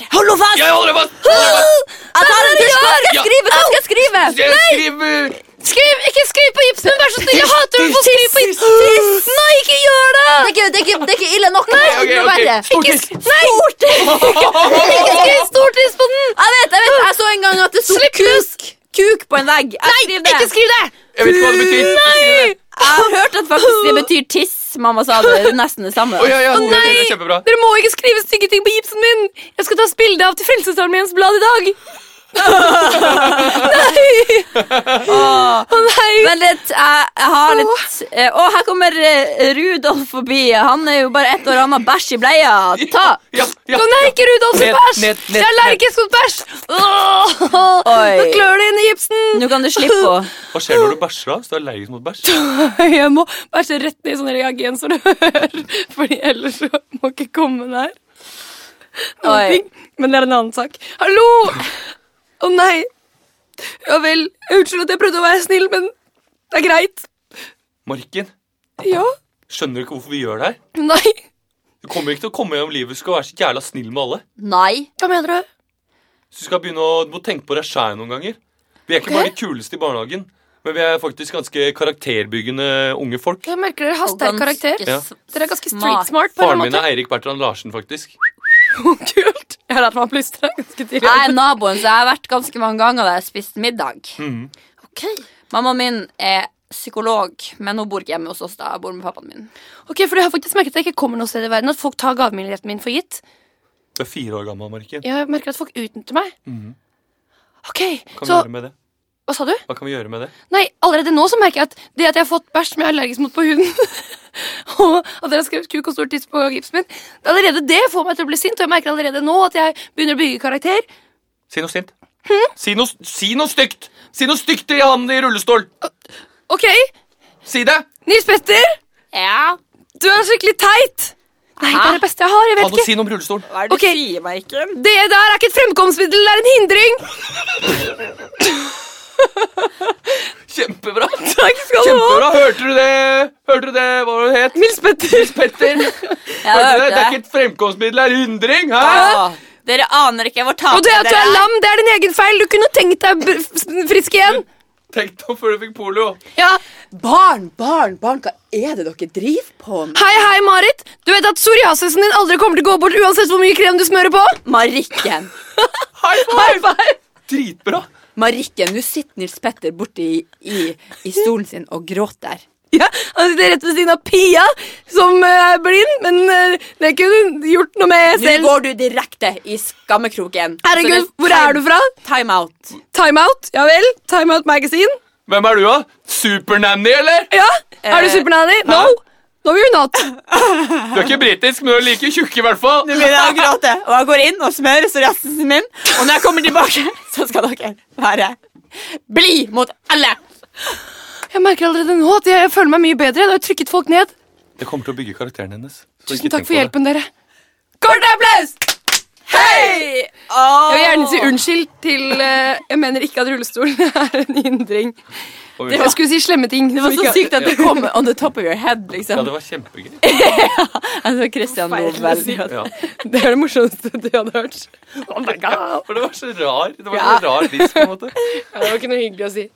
S2: Hold nå fast!
S3: Jeg holder fast! Hold deg fast!
S2: Jeg tar en tusj! Hva skal jeg skrive? Hva skal jeg skrive?
S3: Jeg skriver
S1: Skriv, ikke skriv på gipsen, vær så snill! Jeg hater å få skrive på gipsen!
S2: Nei, ikke gjør det! Det er ikke, det er ikke, det er ikke ille nok. Nei,
S3: ok, ok.
S2: Stortiss! Nei! Ikke skriv stortiss på den! Jeg vet, jeg vet. Jeg så en gang at det sto kuk, kuk på en vegg. Jeg skriver det.
S1: Ikke skriv det!
S3: Jeg vet ikke hva det betyr. Nei!
S2: Jeg har hørt at faktisk det betyr tiss. Mamma sa det er nesten det samme.
S3: Å ja, ja, det
S1: nei!
S3: er kjempebra.
S1: Dere må ikke skrive stygge ting på gipsen min! Jeg skal ta et bilde av til Frelsesarmeens blad i dag. Å nei!
S2: Men litt, jeg, jeg har litt eh, Å, her kommer eh, Rudolf forbi. Han er jo bare ett år, han har bæsj i bleia. Ta!
S3: Ja, ja.
S1: Å nei, ikke Rudolf
S5: Ned,
S1: med bæsj!
S5: ned, ned,
S1: Jeg er allergisk mot bæsj! Åh, Nå
S2: Oi.
S1: klør det inn i gipsen!
S2: Nå kan du slippe på.
S3: Hva skjer når du bæsjer? da? Hvis du er allergisk mot bæsj?
S1: Jeg må bæsje rett ned i sånne reagenser du hører, Fordi ellers så må ikke komme der. Noen
S2: Oi.
S1: ting. Men det er en annen sak. Hallo! Å nei. Ja vel. Unnskyld at jeg prøvde å være snill, men det er greit.
S3: Marken,
S1: Ja.
S3: skjønner du ikke hvorfor vi gjør det her?
S1: Nei.
S3: Du kommer ikke til å komme gjennom livet hvis du skal være så jævla snill med alle.
S2: Nei.
S6: Hva mener du?
S3: Så du skal begynne å du må tenke på deg sjæl noen ganger. Vi er ikke bare de kuleste i barnehagen, men vi er faktisk ganske karakterbyggende unge folk.
S1: Jeg merker dere har sterk karakter.
S3: Ja.
S1: Dere er ganske street smart. på en
S3: Faren
S1: eller
S3: min
S1: annen
S3: er Eirik Bertrand Larsen, faktisk.
S1: måte. Kult. Jeg har lært meg å plystre ganske tidlig.
S2: Jeg er naboen, så jeg har vært ganske mange ganger der jeg har spist middag. Mammaen min er psykolog, men hun bor ikke hjemme hos oss. da Jeg bor med pappaen min.
S1: Ok, for Jeg har faktisk merket at jeg ikke kommer noe sted i verden. At folk tar gavmildheten min for gitt.
S3: Du er fire år gammel, Marken.
S1: Jeg merker at folk utnytter meg. Ok,
S3: Hva kan vi
S1: så
S3: gjøre med det?
S1: Hva sa du?
S3: Hva kan vi gjøre med det?
S1: Nei, allerede nå så merker jeg at det at jeg har fått bæsj som jeg er allergisk mot på huden, og at dere har skrevet kuk og stor tiss på gipsen min, det er allerede det får meg til å bli sint. Og jeg merker allerede nå at jeg begynner å bygge karakter.
S3: Si noe sint. Si noe, si noe stygt! Si noe stygt til han i rullestol!
S1: Ok,
S3: Si det!
S1: Nils Petter,
S2: Ja,
S1: du er skikkelig teit! Nei, det er det beste jeg har. Jeg
S3: Ha
S1: vet
S3: noe
S1: ikke.
S3: å si noe om rullestol.
S2: Hva er det
S1: Ok.
S2: du sier, Michael?
S1: Det der er ikke et fremkomstmiddel, det er en hindring!
S3: Kjempebra!
S1: Takk skal du ha.
S3: Kjempebra! Hørte du det? Hørte du det? Hva var det det het?
S1: Nils Petter.
S3: Petter!
S2: Jeg
S3: Hørte du
S2: hørte
S3: det? Det er ikke
S2: det.
S3: et fremkomstmiddel, det er hindring! Hæ?
S2: Åh, Dere aner ikke hvor tapere
S1: Og det at du
S2: dere
S1: er lam, det er din egen feil. Du kunne tenkt deg br- frisk igjen.
S3: Tenk deg om før du fikk polio.
S1: Ja,
S7: Barn, barn, barn, hva er det dere driver på med?
S1: Hei, hei, Marit. Du vet at psoriasisen din aldri kommer til å gå bort uansett hvor mye krem du smører på?
S7: Marikken!
S3: High
S1: High
S3: five!
S1: five!
S3: Dritbra!
S7: Marikken, nå sitter Nils Petter borte i, i, i stolen sin og gråter.
S1: Ja, Han sitter rett ved siden av Pia, som eh, er blind, men eh, det kunne hun gjort noe med
S7: Nå
S1: selv.
S7: går du direkte i skammekroken.
S1: Herregud, hvor er du fra?
S7: Time out.
S1: Timeout? Ja vel? Timeout Magazine?
S3: Hvem er du, da? Supernanny, eller?
S1: Ja? Er du supernanny? No? No, you're not.
S3: Du er ikke britisk, men du er like tjukk, i hvert fall.
S7: Nå begynner jeg å gråte, og jeg går inn og smører psoriasisen min. Og når jeg kommer tilbake, så skal dere være blid mot alle.
S1: Jeg merker allerede nå at jeg føler meg mye bedre. Da har jeg trykket folk ned.
S3: Det kommer til å bygge karakteren hennes. Så ikke
S1: Tusen takk
S3: tenk
S1: for
S3: på det.
S1: hjelpen, dere. Kort applaus!
S7: Hei!
S1: Jeg vil gjerne si unnskyld til eh, Jeg mener ikke at rullestolen er en hindring.
S3: Og
S1: Jeg skulle si slemme ting.
S2: Det var så sykt at det kom on the top of your head,
S3: Ja,
S2: liksom.
S3: det var kjempegøy.
S2: Altså, Christian lo veldig.
S3: Ja.
S1: Det er det morsomste du hadde hørt.
S2: Oh
S3: For det var så rar. Det var så rar vits, på en måte.
S1: Ja, det var ikke noe hyggelig å si.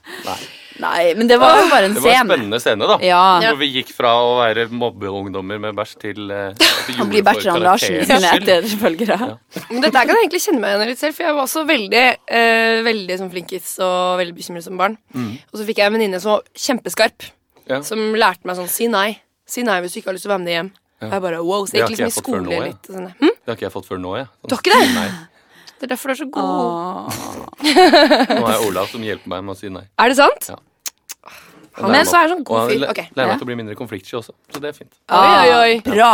S2: Nei, men det var jo bare en
S3: Det var en
S2: scene.
S3: spennende scene, da.
S2: Ja.
S3: Hvor vi gikk fra å være mobbeungdommer med bæsj til eh, at vi
S2: Han
S3: gjorde
S2: blir
S3: det for
S2: Bertrand Larsen
S3: karakterens
S2: sine
S3: skyld.
S2: etterfølgere.
S1: Men dette her kan jeg egentlig kjenne meg igjen i litt selv, for jeg var også veldig, eh, veldig som flinkis og veldig bekymret som barn. Og så fikk jeg en venninne som var kjempeskarp,
S3: Mm. Ja.
S1: som lærte meg sånn si nei. Si nei hvis du ikke har lyst til å være med hjem. Og jeg bare wow, så
S3: Det
S1: jeg
S3: har
S1: gikk liksom i
S3: ikke jeg fått
S1: skole
S3: før nå, jeg.
S1: litt. Og sånn. hm?
S3: Det har ikke jeg fått før nå, jeg.
S1: Du har ikke det?
S3: Nei.
S1: Det er derfor du er så god.
S3: Nå er Olav som hjelper meg med å si nei.
S1: Er det sant?
S3: Ja.
S1: Han men så er sånn god fyr. Ok.
S3: lærer meg til å bli mindre konfliktsky også, så det er fint.
S1: Oi, oi, oi.
S2: Bra.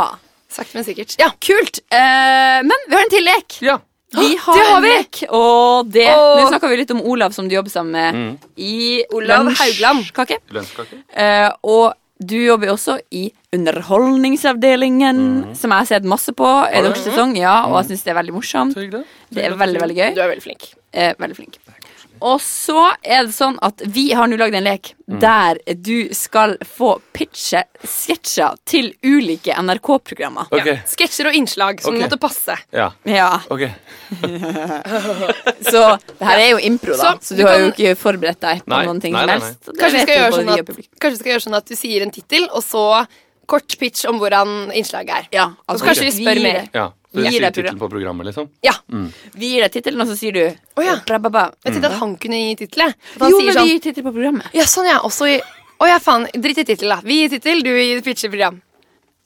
S1: Sakte, men sikkert. Ja,
S2: Kult. Eh, men vi har en til lek.
S3: Ja.
S2: Vi har
S1: det har
S2: en
S1: vi.
S2: lek, og det
S1: Åh.
S2: Nå snakka vi litt om Olav som du jobber sammen med
S3: Mm.
S2: i
S1: Olav
S2: lunsj-
S1: Haugland.
S2: Kake.
S3: Lunsjkake.
S2: Eh, og du jobber jo også i Underholdningsavdelingen, som jeg har sett masse på. Er det sesong? Ja, og jeg syns det er veldig morsomt.
S3: Så hyggelig.
S2: Det er veldig, veldig gøy.
S1: du er veldig flink.
S2: Eh, veldig flink. Og så er det sånn at vi har nå lagd en lek der du skal få pitche sketsjer til ulike NRK-programmer.
S3: Ok.
S1: Sketsjer og innslag som
S3: Ok.
S1: måtte passe.
S3: Ja.
S2: Ja,
S3: Ok.
S2: Så det her er jo impro, da,
S1: Så
S2: så du
S1: du
S2: har
S1: kan-
S2: jo ikke forberedt deg på
S3: Nei,
S2: noen ting
S3: nei,
S2: som
S3: nei,
S2: helst. Så det
S1: Kanskje vi,
S2: vet
S1: skal
S2: jo
S1: gjøre
S2: både
S1: sånn
S2: vi og
S1: at,
S2: publikum.
S1: kanskje vi skal gjøre sånn at du sier en tittel, og så kort pitch om hvordan innslaget er.
S2: Ja,
S1: Og
S2: altså,
S1: så kanskje vi spør
S2: gir
S1: mer.
S2: deg-
S3: Ja. Så du
S2: Gir
S3: sier
S2: deg
S3: tittelen på programmet, liksom?
S1: Ja.
S2: Vi gir deg tittelen, og så sier du
S1: Å, ja.
S2: rababa.
S1: Jeg tenkte at han kunne gi tittel. jeg. At han
S2: Jo,
S1: sier
S2: men vi
S1: sånn
S2: gir tittel på programmet.
S1: Ja, sånn, ja. Og så i- Å ja, faen. Dritt i tittel, da. Vi gir tittel, du gir pitcheprogram.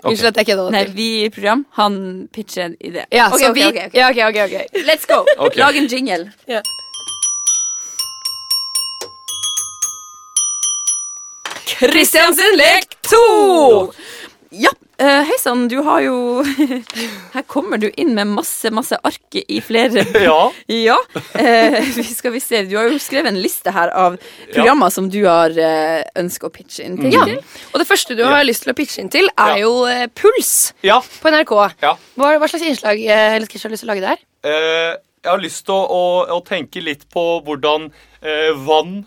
S1: Unnskyld at jeg kødda
S2: Nei,
S1: det til.
S2: vi gir program, han pitcher en idé.
S1: Ja,
S2: Ok,
S1: så
S2: ok,
S1: vi
S2: ok, ok.
S1: Ja, ok, ok, ok.
S2: Let's go!
S3: Ok.
S2: Lag en jingle.
S1: Christian sin lek to!
S2: Ja, eh, hei sann, du har jo Her kommer du inn med masse, masse ark i flere
S3: Ja.
S2: Ja. eh, vi skal vi se, du har jo skrevet en liste her av programmer som du har uh, ønska å pitche inn til.
S1: Ja. Og det første du har lyst til å pitche inn til, er
S3: Ja.
S1: jo eh, Puls
S3: ja.
S1: på NRK.
S3: Ja.
S1: Hva, hva slags innslag eh, eller sketsj har du lyst til å lage der?
S3: Eh, jeg har lyst til å, å, å tenke litt på hvordan eh, vann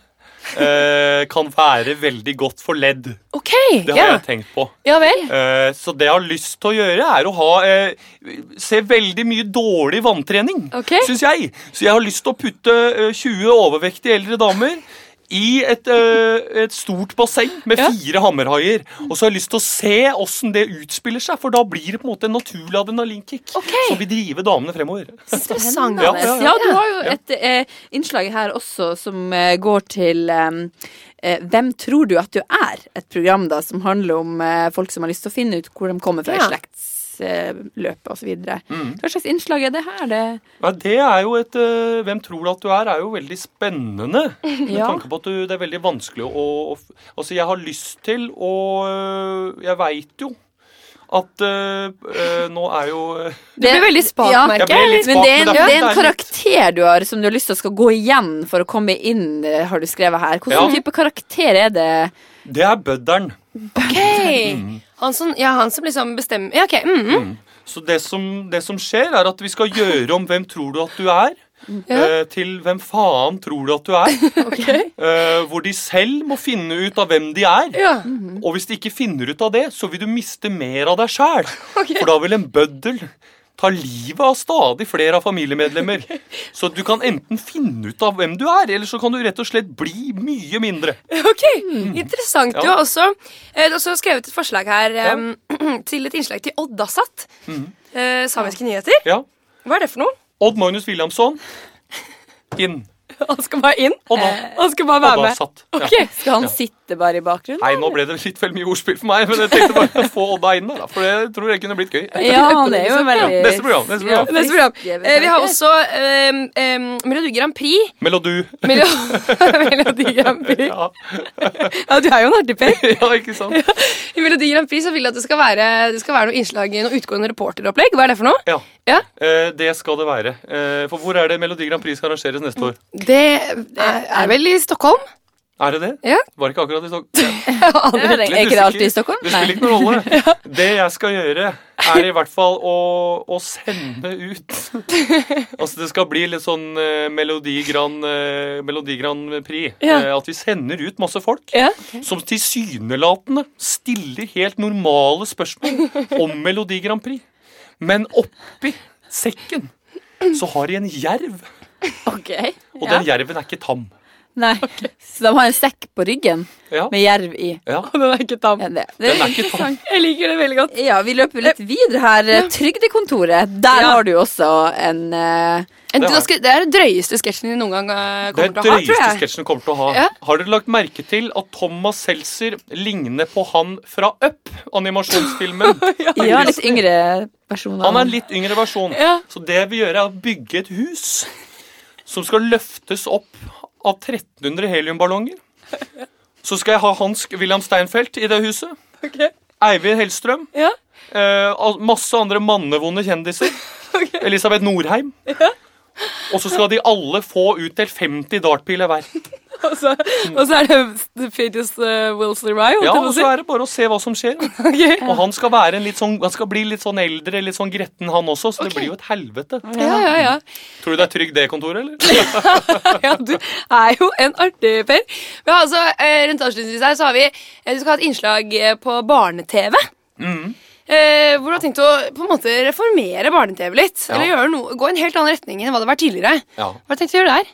S3: eh, kan være veldig godt for ledd.
S1: Ok,
S3: Det har
S1: ja.
S3: jeg tenkt på.
S1: ja vel.
S3: Eh, så det jeg har lyst til å gjøre, er å ha eh, Se veldig mye dårlig vanntrening,
S1: Ok.
S3: syns jeg. Så jeg har lyst til å putte eh, 20 overvektige eldre damer i et, eh, et stort basseng med fire hammerhaier. Og så har jeg lyst til å se åssen det utspiller seg, for da blir det på en måte en naturlig adrenalinkick som vil drive damene fremover.
S1: Interessant.
S3: Ja,
S1: Anders.
S2: Ja, du har jo et eh, innslag her også som eh, går til eh, eh, Hvem tror du at du er? Et program da som handler om eh, folk som har lyst til å finne ut hvor de kommer fra
S1: Ja.
S2: i slektsløpet osv. videre
S3: Mm.
S2: Hva slags innslag er det her? Det,
S3: Nei, det er jo et eh, Hvem tror du at du er? er jo veldig spennende. Med
S2: Ja.
S3: tanke på at du, det er veldig vanskelig å, å f- Altså, jeg har lyst til å øh, Jeg veit jo at øh, øh, nå er jo øh,
S1: Du blir veldig spak,
S2: Ja.
S1: merker
S3: Jeg ble litt
S2: Men
S3: spak,
S2: det er, en,
S3: men
S2: det er
S3: det
S2: en
S3: er litt-
S2: karakter du har som du har lyst til å skal gå igjen for å komme inn, eh, har du skrevet her. Hvilken
S3: Ja.
S2: type karakter er det?
S3: Det er bøddelen.
S1: Mm. Ok. Han som, ja, han som liksom bestemmer Ja, ok. Mm, mm.
S3: Så det som, det som skjer, er at vi skal gjøre om 'Hvem tror du at du er?' eh, til 'Hvem faen tror du at du er?' Eh, hvor de selv må finne ut av hvem de er.
S1: Ja.
S3: Og hvis de ikke finner ut av det, så vil du miste mer av deg sjæl. For da vil en bøddel ta livet av stadig flere av familiemedlemmer. Så du kan enten finne ut av hvem du er, eller så kan du rett og slett bli mye mindre.
S1: Ok, Interessant. Du
S3: Ja.
S1: har også, eh, du har også skrevet et forslag her eh, til et innslag til Oddasat.
S3: Mm.
S1: Eh, samiske nyheter.
S3: Ja.
S1: Hva er det for noe?
S3: Odd Magnus Williamson inn.
S1: Han skal bare inn.
S3: Og da,
S1: Han skal bare
S3: og
S1: være
S3: da
S1: Eh, med.
S3: satt. Ja.
S1: Ok.
S2: Skal han sitte bare i bakgrunnen?
S3: Nei, nå ble det litt vel mye ordspill for meg, men jeg tenkte bare å få Odda inn der, da, for det tror jeg kunne blitt gøy.
S2: Ja, han er jo veldig
S3: Neste program. neste program.
S1: Neste program.
S2: friske
S1: Eh, vi har
S2: tanker.
S1: også eh, eh, Melodi Grand Prix.
S3: Melodu.
S1: Melo- Melodi Grand Prix.
S3: Ja.
S1: Ja, du er jo en artig per.
S3: ja, ikke sant?
S1: I Melodi Grand Prix så vil jeg at det skal være, det skal være noe innslag, noe utgående reporteropplegg. Hva er det for noe?
S3: Ja.
S1: Ja,
S3: Eh, det skal det være. Eh, for hvor er det Melodi Grand Prix skal arrangeres neste år?
S1: Det er er vel i Stockholm?
S3: Er det det?
S1: Ja.
S3: Var det ikke akkurat i Stockholm?
S2: Er ikke det alltid i Stockholm?
S3: Det spiller ikke noen rolle. Det jeg skal gjøre, er det i hvert fall å, å sende ut. Altså det skal bli litt sånn eh, Melodi Grand, eh, Melodi Grand Prix.
S2: Ja.
S3: Eh, at vi sender ut masse folk
S2: Ja.
S3: som tilsynelatende stiller helt normale spørsmål om Melodi Grand Prix. Men oppi sekken så har de en jerv,
S2: Ok.
S3: og den jerven er ikke tam.
S2: Nei. Så de har en sekk på ryggen
S3: Ja.
S2: med jerv i.
S3: Ja.
S1: Den er ikke tam.
S2: Ja, det.
S3: Den er ikke tam.
S1: Jeg liker det veldig godt.
S2: ja, vi løper litt videre her. Trygdekontoret, der har du også en eh,
S1: En,
S3: Det er-
S1: da skal, det er den drøyeste sketsjen de noen gang eh,
S3: Det er
S1: kommer til å ha, tror
S3: drøyeste
S1: jeg.
S3: sketsjen du kommer til å ha.
S1: Ja.
S3: Har dere lagt merke til at Thomas Seltzer ligner på han fra Up, animasjonsfilmen?
S2: Ja, litt yngre versjon. av
S3: Han er en
S2: den.
S3: litt yngre versjon.
S1: liksom. Ja.
S3: Så det vi gjør, er å bygge et hus som skal løftes opp av 1300 heliumballonger. Så skal jeg ha Hans William Steinfeld i det huset. Eivind Hellstrøm.
S1: Ja.
S3: Eh, al- masse andre mannevonde kjendiser. Elisabeth Norheim. Og så skal de alle få utdelt 50 dartpiler hver.
S1: Og så er det The Fittest uh, Wilson Rye.
S3: Ja, og så er det bare å se hva som skjer. Og han skal, være en litt sånn, han skal bli litt sånn eldre, litt sånn gretten han også, så det blir jo et helvete.
S1: ja, ja, ja.
S3: Tror du det er trygg det kontoret, eller?
S1: ja, du er jo en artig per. Men altså, eh, rundt avslutningsvis her så har vi eh, Du skal ha et innslag eh, på barne-TV.
S3: Mm.
S1: Eh, hvor du har tenkt å på en måte reformere barne-TV litt. Eller gjøre noe, gå i en helt annen retning enn hva det har vært tidligere.
S3: Ja.
S1: Hva har du tenkt å gjøre der?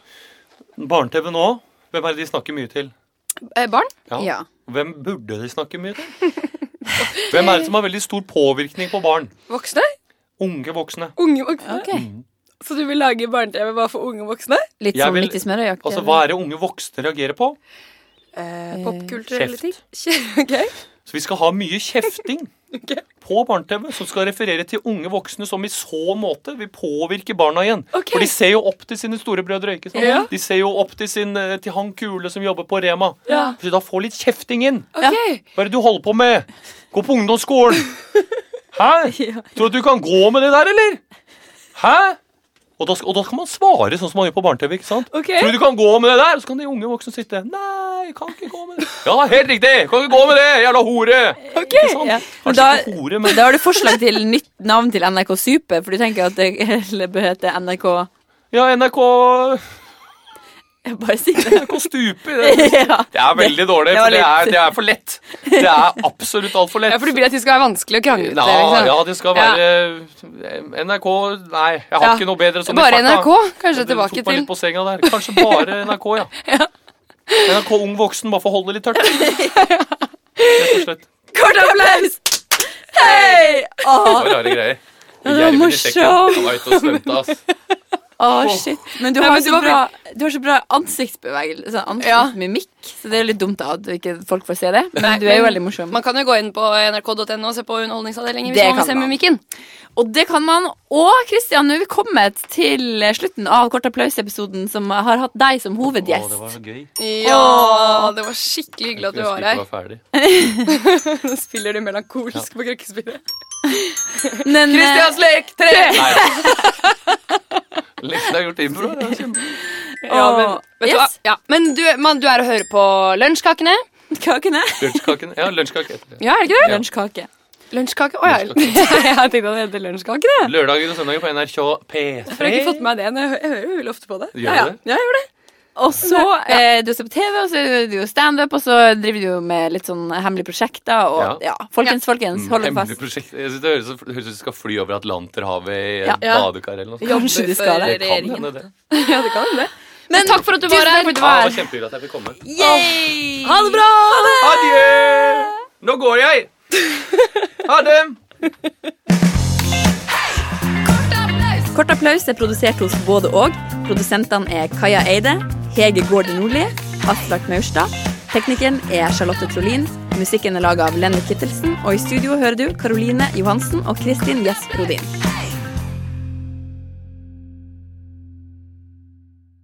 S3: Barne-TV nå, hvem er det de snakker mye til?
S1: Eh, barn?
S2: Ja.
S3: Hvem burde de snakke mye til? Hvem er det som har veldig stor påvirkning på barn?
S1: Voksne?
S3: Unge voksne.
S1: Unge voksne? Så du vil lage barne-TV bare for unge voksne?
S2: Litt
S3: Jeg
S2: som
S3: vil-
S2: midt i smørøyjakta.
S3: Altså, Hva er det unge voksne reagerer på?
S2: Eh,
S1: Popkulturelle ting?
S3: Kjeft.
S1: ok.
S3: Så vi skal ha mye kjefting på barne-TV som skal referere til unge voksne som i så måte vil påvirke barna igjen.
S1: Ok.
S3: For de ser jo opp til sine storebrødre. ikke sant?
S1: Ja.
S3: De ser jo opp til, sin, eh, til han kule som jobber på Rema.
S1: Ja.
S3: Så da få litt kjefting inn.
S1: Ok.
S3: Hva er det du holder på med? Gå på ungdomsskolen! Hæ? Tror du at du kan gå med det der, eller? Hæ? Og da, sk- og da kan man svare sånn som man gjør på barne-TV. ikke sant?
S1: Ok.
S3: Tror du du kan gå med det der? Så kan de unge voksne sitte Nei, jeg kan ikke gå med det. Ja, helt riktig! Kan ikke gå med det, jævla hore! Ikke sant?
S2: ja. Men
S3: Kanskje
S2: da-
S3: ikke sånn. hore,
S2: Men
S3: men
S2: Da har du forslag til nytt navn til NRK Super, for du tenker at det eller bør hete NRK
S3: Ja, NRK,
S2: Jeg Bare si det.
S3: NRK stuper. Det,
S2: Ja.
S3: det er veldig dårlig,
S2: det var
S3: for det
S2: litt-
S3: er, det er for lett. Det er absolutt altfor lett.
S1: Ja, for du vil at de skal være vanskelig å krangle
S3: Ja,
S1: liksom.
S3: ja, det skal være NRK Nei, jeg har
S1: Ja.
S3: ikke noe bedre sånn i
S1: Bare
S3: farta.
S1: NRK, kanskje
S3: Du
S1: tilbake
S3: tok meg
S1: til.
S3: litt på senga der. Kanskje bare NRK, ja. NRK Ung Voksen, bare for å holde det litt tørt. Rett og slett.
S2: Kort applaus! Hei! Å,
S8: Det var rare greier. Jerven i sekken. Han var ute og svømte, ass.
S2: å, shit. Men du
S1: Nei,
S2: har,
S1: men du
S2: så
S1: var
S2: bra, du har så bra ansiktsbevegelse, sånn ansiktsmimikk, så det er litt dumt da at ikke folk får se det. Men
S1: Nei,
S2: du er jo
S1: men
S2: veldig morsom.
S1: Man kan jo gå inn på nrk.no og se på Underholdningsavdelingen hvis
S2: Det
S1: man vil
S2: kan
S1: se
S2: man.
S1: mimikken.
S2: Og det kan man. Og Kristian, nå er vi kommet til slutten av Kort applaus-episoden som har hatt deg som
S3: Å, det
S2: hovedgjest.
S3: var gøy.
S1: Ja, det var skikkelig hyggelig at du
S8: Jeg
S1: var
S8: husker ikke
S1: her.
S8: var ferdig.
S1: Nå spiller du melankolsk på krykkespillet.
S2: Men, eh,
S1: Kristians lek tre!
S8: Lenge siden jeg har gjort impro. det er kjempe-
S1: Ja, men, vet du hva?
S2: Yes.
S1: Ja, men du, man, du er å høre på Lunsjkakene.
S2: Kakene.
S8: Lunsjkaken. Ja, lunsjkake etter det.
S1: Ja, er det ikke det?
S2: Lunsjkake.
S1: Lunsjkake? Å ja. Jeg tenkte at det heter Lunsjkakene. jeg.
S8: Lørdager og søndager på NRK P3.
S1: For jeg har ikke fått med meg det. men Jeg hø- jeg hører jo veldig ofte på det.
S8: Gjør
S1: Ja, ja.
S8: det?
S1: Ja, jeg gjør det.
S2: Og så eh, du ser på TV, og så gjør du jo standup, og så driver du jo med litt sånn hemmelige prosjekter. Og ja, folkens,
S3: Mm,
S2: folkens, hold dere
S8: Mm. Hemmelig
S2: fast.
S8: prosjekt. Jeg synes det høres ut som det høres ut som du skal fly over Atlanterhavet i
S2: Ja.
S8: ja. badekar eller noe. sånt.
S2: Kanskje du skal det.
S8: Det kan hende, det.
S1: Ja, det kan det. Men takk for at du var
S8: Ja,
S1: her.
S8: det var kjempehyggelig at jeg fikk komme.
S2: Ha det bra!
S8: Adjø! Nå går jeg! Ha det!
S2: Kort applaus er produsert hos både og. Produsentene er Kaja Eide, Hege Gården Nordli, Aslak Maurstad. Teknikeren er Charlotte Trolin. Musikken er laga av Lenny Kittelsen. Og i studio hører du Karoline Johansen og Kristin Gjess Rodin.